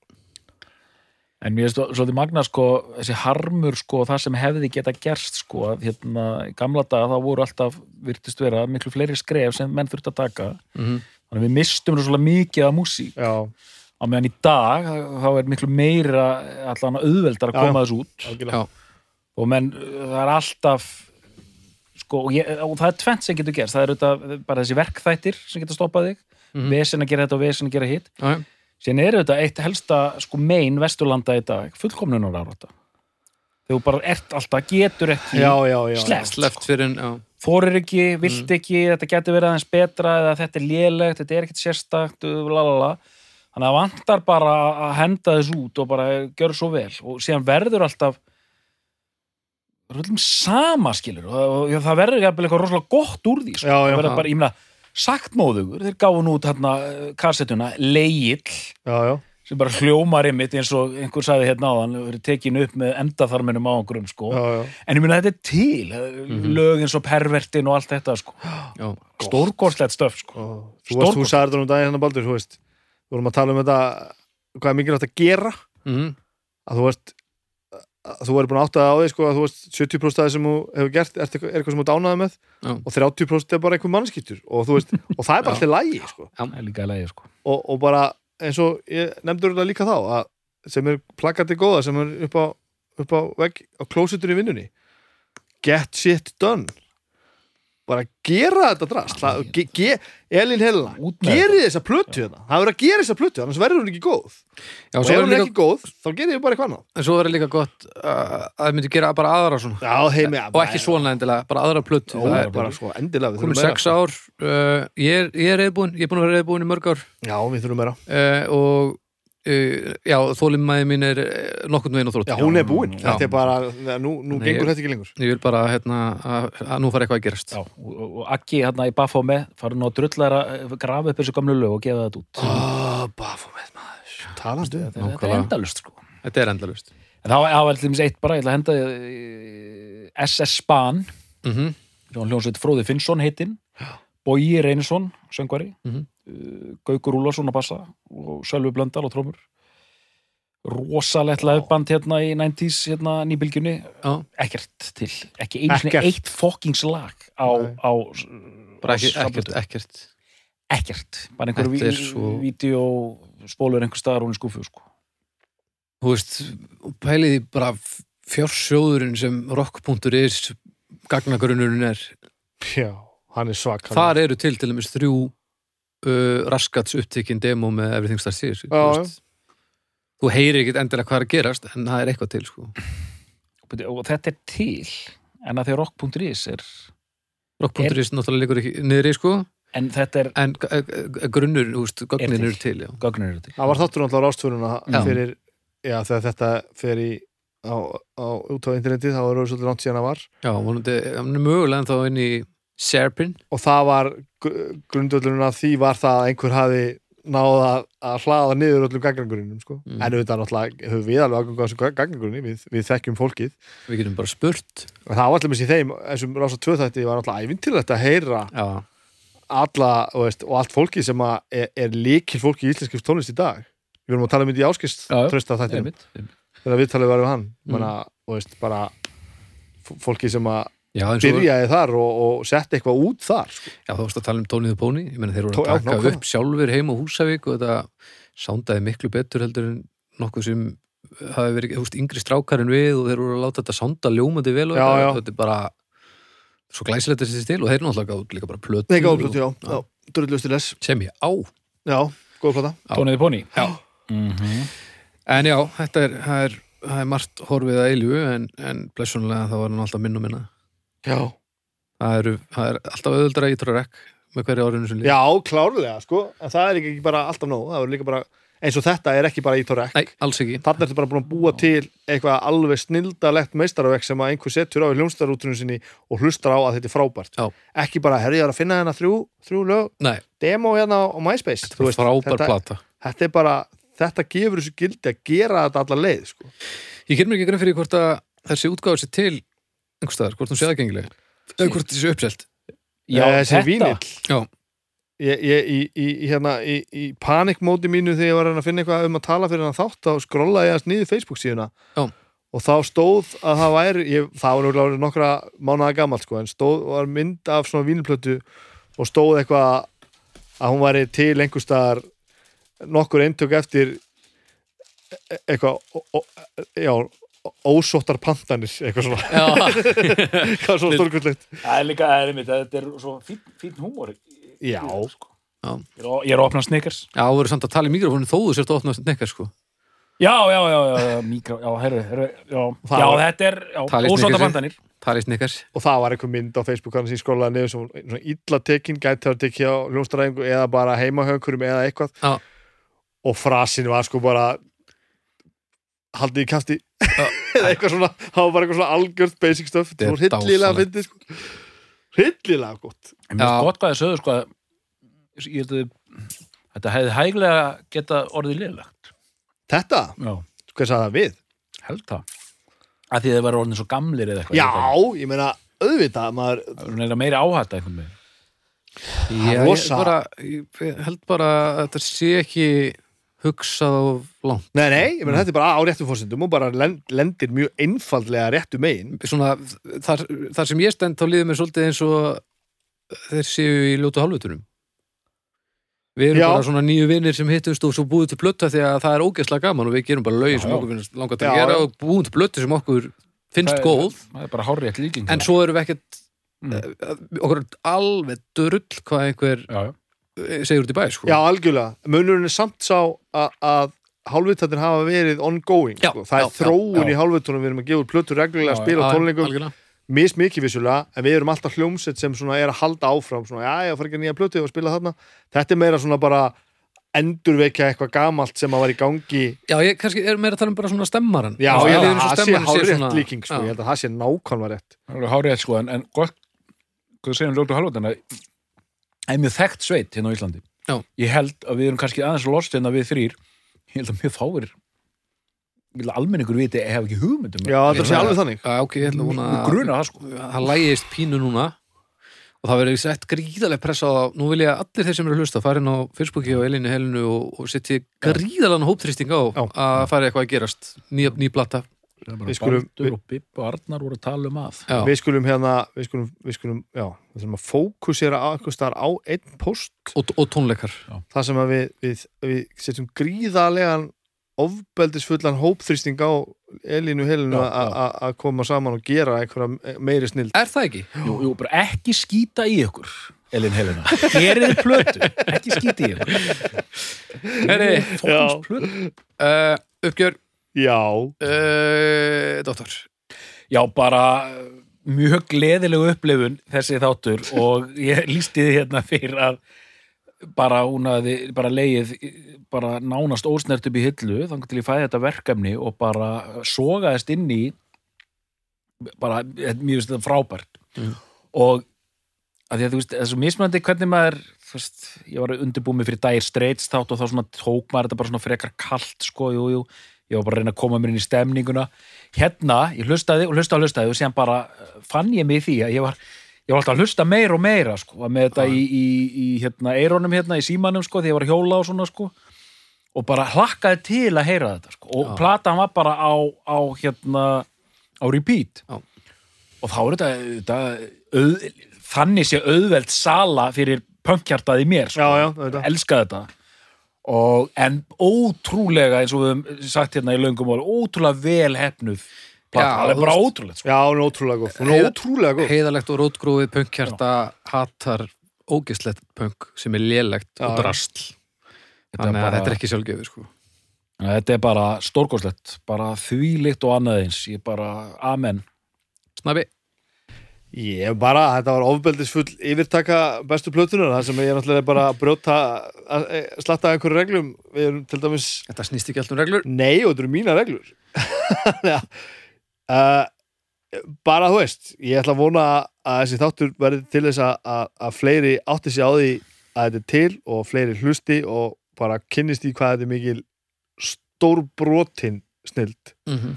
S2: En mér finnst það svolítið magna sko, þessi harmur sko, það sem hefði geta gerst sko, að hérna, í gamla daga þá voru alltaf, virtist vera, miklu fleiri skref sem menn þurfti að taka.
S1: mhm.
S2: Þannig að við mistum svolítið mikið af músík.
S3: já,
S2: Á meðan í dag, þá er miklu meira allan auðveldar að
S3: Já, já.
S2: koma þessu út.
S3: algjörlega
S1: já,
S2: Og menn, það er alltaf, sko, og, ég, og það er tvennt sem getur gerst. Það er auðvitað bara þessi verkþættir sem getur stoppað þig.
S1: Mhm.
S2: Vesen að gera þetta og vesen að gera hitt.
S1: já, já.
S2: Sérna er þetta eitt helsta sko mein vesturlanda í dag, fullkomnunar áráta. Þegar þú bara ert alltaf, getur ekki,
S3: já, já, já, já.
S2: Sleppt.
S1: Sleppt fyrir en, já,
S2: þorir ekki,
S3: Mm.
S2: vilt ekki, þetta getur verið aðeins betra eða þetta er lélegt, þetta er ekkert sérstakt, uh, lalala. Þannig að það vantar bara að henda þess út og bara gör svo vel og síðan verður alltaf rullum sama skilur og og það verður jafnvel eitthvað rosalega gott úr því sko.
S3: Já, já,
S2: Það verður
S1: já.
S2: bara, ég meina, saktmóðugur, þeir gáðu nút hérna kassetuna, leigill
S3: já, já.
S2: sem bara hljómar einmitt eins og einhver sagði hérna á hann, verið tekin upp með endaþarminum á einhverjum sko
S3: Já, já.
S2: en ég meina þetta er til, eh,
S1: Mhm.
S2: lög eins og pervertin og allt þetta sko,
S1: já.
S2: stórgóðslegt stöf sko
S3: Ó, Þú varst, þú
S2: Stórkostlegt.
S3: sagði þetta nú daginn hérna Baldur, þú veist Við vorum að tala um þetta hvað er mikilvægt að gera
S1: Mhm.
S3: að þú veist að þú verður búin að átta það á því sko að þú veist 70% af því sem þú hefur gert er eitthvað, er eitthvað sem þú dánaði með
S1: Já.
S3: og 30% er bara einhver mannskýttur og þú veist og það er bara
S1: Já.
S3: alltaf lægi sko
S2: það er líka að leiði sko
S3: og, og bara eins og ég nefndur þetta líka þá að, sem er plakatið góða sem er upp á, upp á vegg á klósitur í vinnunni get shit done bara gera þetta drast Það- ge, ge, Elin Helena,
S2: Út með
S3: gerið þessa plötu þetta það verður að gera þessa plötu, annars verður hún ekki góð
S1: Já, svo
S3: og ef
S1: verður
S3: hún er
S1: líka,
S3: ekki góð, þá gerir við bara eitthvað annað
S1: en svo verður líka gott uh, að það myndi gera bara aðra svona
S3: Já, heimi,
S1: og ekki svona endilega, bara aðra plötu Það
S3: Ó, bara,
S1: er
S3: bara svo endilega við
S1: komið
S3: þurfum
S1: sex ár uh, ég, er, ég er reyðbúin, ég er búin að vera reyðbúin í mörg ár
S3: Já, við þurfum meira
S1: uh, og uh, já, þólimæði mín er uh, nokkurn veginn á þrótt
S3: Já, hún er búin,
S1: Já.
S3: þetta er bara, nú, nú
S1: Nei, ég-
S3: gengur þetta ekki lengur
S1: ég vil bara hérna, að, að nú fara eitthvað að gerast
S2: Já, og, og- og Akki hérna í Bafómi fara nú að drullara, grafa upp þessu gamlu lög og gefa þetta út.
S3: Ah, Baphomet maður Talast við
S2: Þetta- Þetta er
S1: nákvæmlega.
S2: endalust sko.
S1: þetta er endalust
S2: En þá þá var til dæmis eitt bara, ég ætla að henda eh, SS Span,
S1: mm
S2: sem var hljónsveit Fróði Finnsson heitinn, Bogi Reynsson, söngvari,
S1: Mhm.
S2: eh, Gaukur Úlarsson að bassa og Sölvi Blöndal og trómur. Rosalegt lefband hérna í 90s, hérna nýbylgjunni,
S1: já,
S2: ekkert til, ekki einu sinni
S3: Ekkert.
S2: eitt fokkings lag á,
S3: Nei.
S2: á
S1: bara
S2: á
S1: ekki, ekkert,
S2: samböndum.
S1: ekkert
S2: ekkert, bara einhverju
S1: Þetta er
S2: ví-
S1: svo-
S2: vídeó spólur einhver staðar hún í skúfu sko.
S1: þú veist, pæliði bara fjársjóðurinn sem rock.is gagnagrunnurinn er
S3: Já, hann er svak hann
S1: þar eru til til dæmis þrjú uh, raskats upptekinn demo með Everything Starts Here þú,
S3: Já,
S1: veist. þú heyrir ekkert endilega hvað er að gerast en það er eitthvað til sko.
S2: og þetta er til en að því að rock.is er
S1: rock.is náttúrulega liggur ekki niðri sko,
S2: en þetta er,
S1: en g- g- g- grunnur þú veist, gögnin
S2: til.
S1: eru til já.
S2: gögnur eru til
S3: Það var þáttur náttúrulega
S1: Já.
S3: rástföruna fyrir, já, þegar þetta fer í á, á, út á internetið, þá er það svolítið langt síðan að var
S1: já, vonandi, hann er mögulega en þá inn í Serpin
S3: og það var grundvöldurinn að því var það að einhver hafi náða að hlaða niður öllum gangrangurinnum sko.
S1: Mm.
S3: en auðvitað náttúrulega höfum við alveg aðgang á þessu gangrangurinn við, við þekkjum fólkið
S1: við getum bara spurt
S3: og það var allir með sér þeim þessum rása tvöþætti var náttúrulega ævintilegt að heyra
S1: já,
S3: alla þú veist, og allt fólkið sem að er, er líkil fólki í íslenskif tónlist í dag við erum að tala um þetta í áskist
S2: Já, já.
S3: trösta þættinum
S2: einmitt, einmitt.
S3: þegar við talaðum varum hann mm. Menna, og veist, bara f- fólki sem að
S1: já, en svo,
S3: byrjaði þar og, og sett eitthvað út þar sko.
S1: já þú veist að tala um Tónið og Póni ég meina þeir voru
S3: Tó- já,
S1: að taka
S3: nákvæmlega.
S1: upp sjálfur heim á Húsavík og þetta sándaði miklu betur heldur en nokkuð sem hafi verið, þú veist, yngri strákarinn við og þeir voru að láta þetta sánda ljómandi vel og
S3: Já,
S1: þetta,
S3: já.
S1: þetta er bara svo glæsilegt þessi stil og þeir náttúrulega gáðu líka bara plötu
S3: Nei, gáðblötu, já,
S1: Já.
S3: já. drullusti les
S1: sem ég á
S3: já, góð plata
S1: Já.
S2: Tóniði Póni
S1: Já.
S2: Mhm.
S1: En já, þetta er, það er, það er margt horfið að eilu en, en blessunlega þá var hann alltaf minn og minna.
S3: já.
S1: Það, eru, það er alltaf auðvöldra í trórekk með hverju árinu sem líf.
S3: já, klárlega sko. en það er ekki bara alltaf nóg það er líka bara, eins og þetta er ekki bara í torrek
S1: Nei, alls ekki.
S3: þarna ertu bara búin að búa til eitthvað alveg snildalegt meistaravegg sem að einhver setur á í hljónstarútrunum sinni og hlustar á að þetta er frábært
S1: Já.
S3: ekki bara, herri, ég er að finna hérna þrjú, þrjú lög
S1: Nei,
S3: demo hérna á MySpace
S1: þetta var frábær
S3: þetta,
S1: plata.
S3: þetta er bara þetta gefur þessu gildi að gera þetta alla leið sko.
S1: Ég ger mér ekki grein fyrir hvort að þessi útgáður sér til einhvers staðar, hvort hún sé aðgengileg. Eða hvort þessi uppselt.
S2: Já,
S3: Eh, þessi
S2: þetta
S3: vínill
S1: Já.
S3: ég, ég, í, í, í, hérna, í, í panikmóti mínu þegar ég var að reyna að finna eitthvað um að tala fyrir hann þátt þá skrollaði ég hans niður Facebook síðuna
S1: Já.
S3: og þá stóð að það væri ég, það var náttúrulega orðið nokkra mánaða gamalt sko, en stóð var mynd af svona vínplötu og stóð eitthvað að hún væri til einhverstaðar nokkur eintök eftir e- eitthvað ó- ó- já, ósóttar pantanir eitthvað svona,
S1: Já,
S3: eitthvað svona stórkullegt
S2: Það er líka, það er einmitt, þetta er svo fín, fín húmor
S3: Já.
S2: sko.
S1: Já.
S2: Ég er að- Ég er að opna snickers
S1: já voru samt að tala í mikrofónu þó þú sért að opna nekkar sko.
S2: Já, já, já, já, já, mikro, já, herru, herru já,
S3: Það
S2: já,
S3: var-
S2: þetta er, já,
S1: Talið
S2: ósóta
S1: Snickers.
S2: bandanir
S1: Tala í nekkar.
S3: og það var einhver mynd á Facebook hann sem ég skólaði niður sem var svona illa tekin gæti að tekja á ljónstaræðingu eða bara heima hjá einhverjum eða eitthvað
S1: Já.
S3: og frasin var sko bara haldið í kæfti eða eitthvað svona, það var bara eitthvað svona algjörð basic stuff,
S1: Þetta er
S3: þetta var hillilega
S1: dásamlegt.
S3: fyndið sko hillilega gott
S2: En mér
S1: Já.
S2: finnst gott hvað þið sögðu sko að ég held að þetta hefði hæglega geta orðið liðlegt.
S3: þetta,
S2: Já,
S3: hver sagði það við?
S2: held það. Að því þið verður orðin svo gamlir eða eitthvað.
S3: Já,
S2: ég veit það
S3: ég meina auðvitað, maður
S2: ekki. Það er meira áhætt einhvern veginn.
S1: Já, ég,
S3: rosa.
S1: bara, ég held bara að þetta sé ekki hugsað of langt.
S3: nei, nei, ég
S1: Mm.
S3: meina þetta er bara á réttum fórsendum og bara len- lendir mjög einfaldlega réttu megin
S1: svona, þar, þar sem ég stend þá líður mér svolítið eins og þeir séu í ljótu hálfutunum Við erum
S3: Já.
S1: bara svona nýju vinnir sem hittumst og svo búið til plötta því að það er ógeðslega gaman og við gerum bara lögin
S2: Já,
S1: sem
S2: já.
S1: okkur finnst langar til
S3: Já,
S1: að
S3: já.
S1: gera og búum til plöttu sem okkur finnst góð
S2: það er bara hárið líking sko.
S1: en svo erum við ekkert
S2: Mm.
S1: eh, okkur er alveg drull hvað einhver
S2: já, já.
S1: eh, segir út í bæ sko.
S3: Já, algjörlega. Munurinn er samt sá að, að hálfvitaðin hafa verið ongoing.
S1: Já,
S3: sko. Það
S1: já,
S3: er
S2: já.
S3: þróun í hálfvitunum, við erum að gefa út plötur reglulega,
S2: Já, já.
S3: spila á
S1: Já,
S3: tónleikum,
S1: algjörlega.
S3: mis mikið vissulega, en við erum alltaf hljómsett sem svona er að halda áfram, svona, já, já, fara ekki að nýja plötu og spila þarna. Þetta er meira svona bara endurvekja eitthvað gamalt sem að var í gangi.
S1: Já, ég kannski er meira að tala um bara svona stemmaran
S3: Já,
S1: Mér
S3: ég
S1: líður
S3: held
S1: eins og
S3: að það sé
S1: stemmarinn
S3: hálfrétt
S1: svona-
S3: líking, sko,
S1: Já.
S3: ég held að það sé nákvæmlega rétt.
S2: Það er alveg hárið sko, en, en gott hvað þú segir um ljótu halvótana er mjög þekkt sveit hérna á Íslandi
S1: Já.
S2: ég held að við erum kannski aðeins lost hérna við þrýr ég held að mjög fáir ég held að almenningur viti ég hef ekki um hugmyndum
S3: Já, þetta sé alveg þannig.
S1: Já, ok, ég ætla hún að
S2: gruna það sko
S1: það lægist pínu núna og það verður sett gríðaleg pressa á það nú vil ég að allir þeir sem eru að hlusta farin á Facebooki og Elinu Helinu og, og setji gríðalan hóptrýsting á
S3: Já.
S1: að fara eitthvað að gerast ný, ný plata
S3: Við skulum-
S2: Baldur og Bibb og Arnar voru að tala um að
S1: Já.
S3: Við skulum hérna, við skulum, við skulum, já, við þurfum að fókusera á einhvers staðar á einn post
S1: og, og tónleikar
S3: það sem að við, við, við setjum gríðarlegan ofbeldisfullan hópþrýsting á Elinu Helinu
S2: Já,
S3: að-
S2: já.
S3: að að koma saman og gera einhverja meiri snild
S1: Er það ekki?
S2: jú, jú, bara ekki skýta í ykkur Elin Helena, gerið þið plötu ekki skýta í ykkur
S1: Heri,
S2: Fókumsplötu.
S1: uh, uppgjör
S3: Já,
S1: uh, Dóttar
S2: Já, bara uh, mjög gleðilegu upplifun þessi þáttur og ég lísti því hérna fyrir að bara hún hafði bara leið bara nánast ósnert upp í hillu þannig til ég fæði þetta verkefni og bara sogaðist inn í bara, eh, mér finnst þetta frábært
S1: Mhm.
S2: og að því að þú veist, þessu mismunandi hvernig maður þú veist, ég var undirbúmi fyrir dagir streits þátt og þá svona tók maður þetta bara svona frekar kalt sko, jú, jú, ég var bara að reyna að koma mér inn í stemninguna hérna, ég hlustaði og hlustaði og hlustaði og síðan bara eh, fann ég mig í því að ég var ég var alltaf að hlusta meira og meira sko, var með þetta
S1: Já.
S2: í, í, í hérna, eirónum hérna, í símanum sko, því ég var að hjóla og svona sko og bara hlakkaði til að heyra þetta sko. og
S1: Já.
S2: platan var bara á, á hérna, á repeat
S1: Já.
S2: og þá er þetta, þetta auð, þannig sé auðveld sala fyrir pönkjartaði mér sko.
S3: já, já, þetta
S2: elska þetta og, en ótrúlega eins og við höfum sagt hérna í löngum mál, ótrúlega vel hefnuð
S1: Já,
S2: plata, það er bara
S1: þú
S2: ótrúlega sko.
S3: Já, hún er ótrúlega góð, hún er
S1: Heiða-
S3: ótrúlega góð
S1: Heiðalegt og rótgrófið punkkjarta hatar ógeðslegt punk sem er lélegt og
S3: Já.
S1: drastl
S2: Þetta er
S1: Þannig að
S2: bara-
S1: þetta er ekki sjálfgefið sko.
S2: Þannig að þetta er bara stórkoslegt bara þvílikt og annað eins ég bara, amen
S1: Snabbi,
S3: Ég bara, þetta var ofbeldisfull yfirtaka bestu plötunar, það sem ég er náttúrulega bara að brjóta, að- eh, slatta af einhverju reglum, við erum til dæmis
S1: þetta snýst ekki allt um reglur
S3: Nei, og þetta eru mína reglur Þannig að, uh, Bara þú veist Ég ætla að vona að þessi þáttur verði til þess að, að, að fleiri átti sig á því að þetta er til og fleiri hlusti og bara kynnist í hvað þetta er mikil stórbrotin snild
S1: mm -hmm.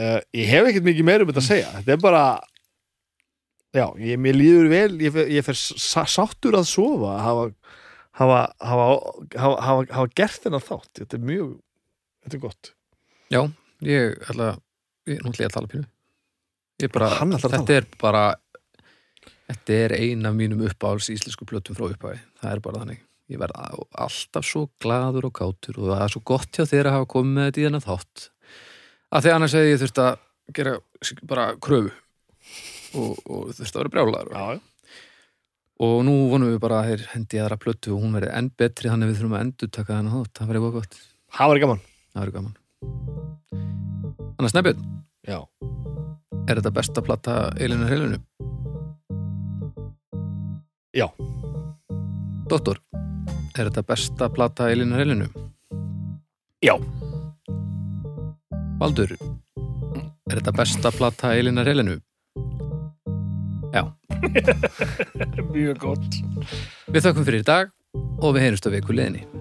S3: uh, Ég hef ekkert mikið meira um þetta að segja Þetta er bara Já, ég, mér líður vel, ég fer, ég fer sa- sáttur að sofa að hafa, hafa, hafa, hafa, hafa, hafa gert þennan þátt, þetta er mjög þetta er gott
S1: Já, ég ætla ég, Nú ætla ég að tala pínu Ég bara,
S3: Hann ætlar að
S1: þetta er bara Þetta er ein af mínum uppáhals íslensku plötum frá upphæði Það er bara þannig Ég verð a- alltaf svo gladur og kátur og það er svo gott hjá þér að hafa komið með þetta í þennan þátt að því annars hefði ég þurft að gera sig- bara kröfu og, og þurft að vera brjálaður
S3: Já,
S1: og nú vonum við bara að þeir hendi í aðra plötu og hún verði enn betri þannig að við þurfum að endurtaka þennan þátt það verði góð gott,
S3: það var gaman
S1: það verði gaman Þannig að Snæbjörn
S3: Já.
S1: Er þetta besta platta Elinu Helinu?
S3: Já.
S1: Dóttor, er þetta besta platta Elinu Helinu?
S2: Já.
S1: Baldur, er þetta besta platta Elinu Helinu?
S2: mjög gott
S1: Við þökkum fyrir í dag og við heyrumst á viku leðinni.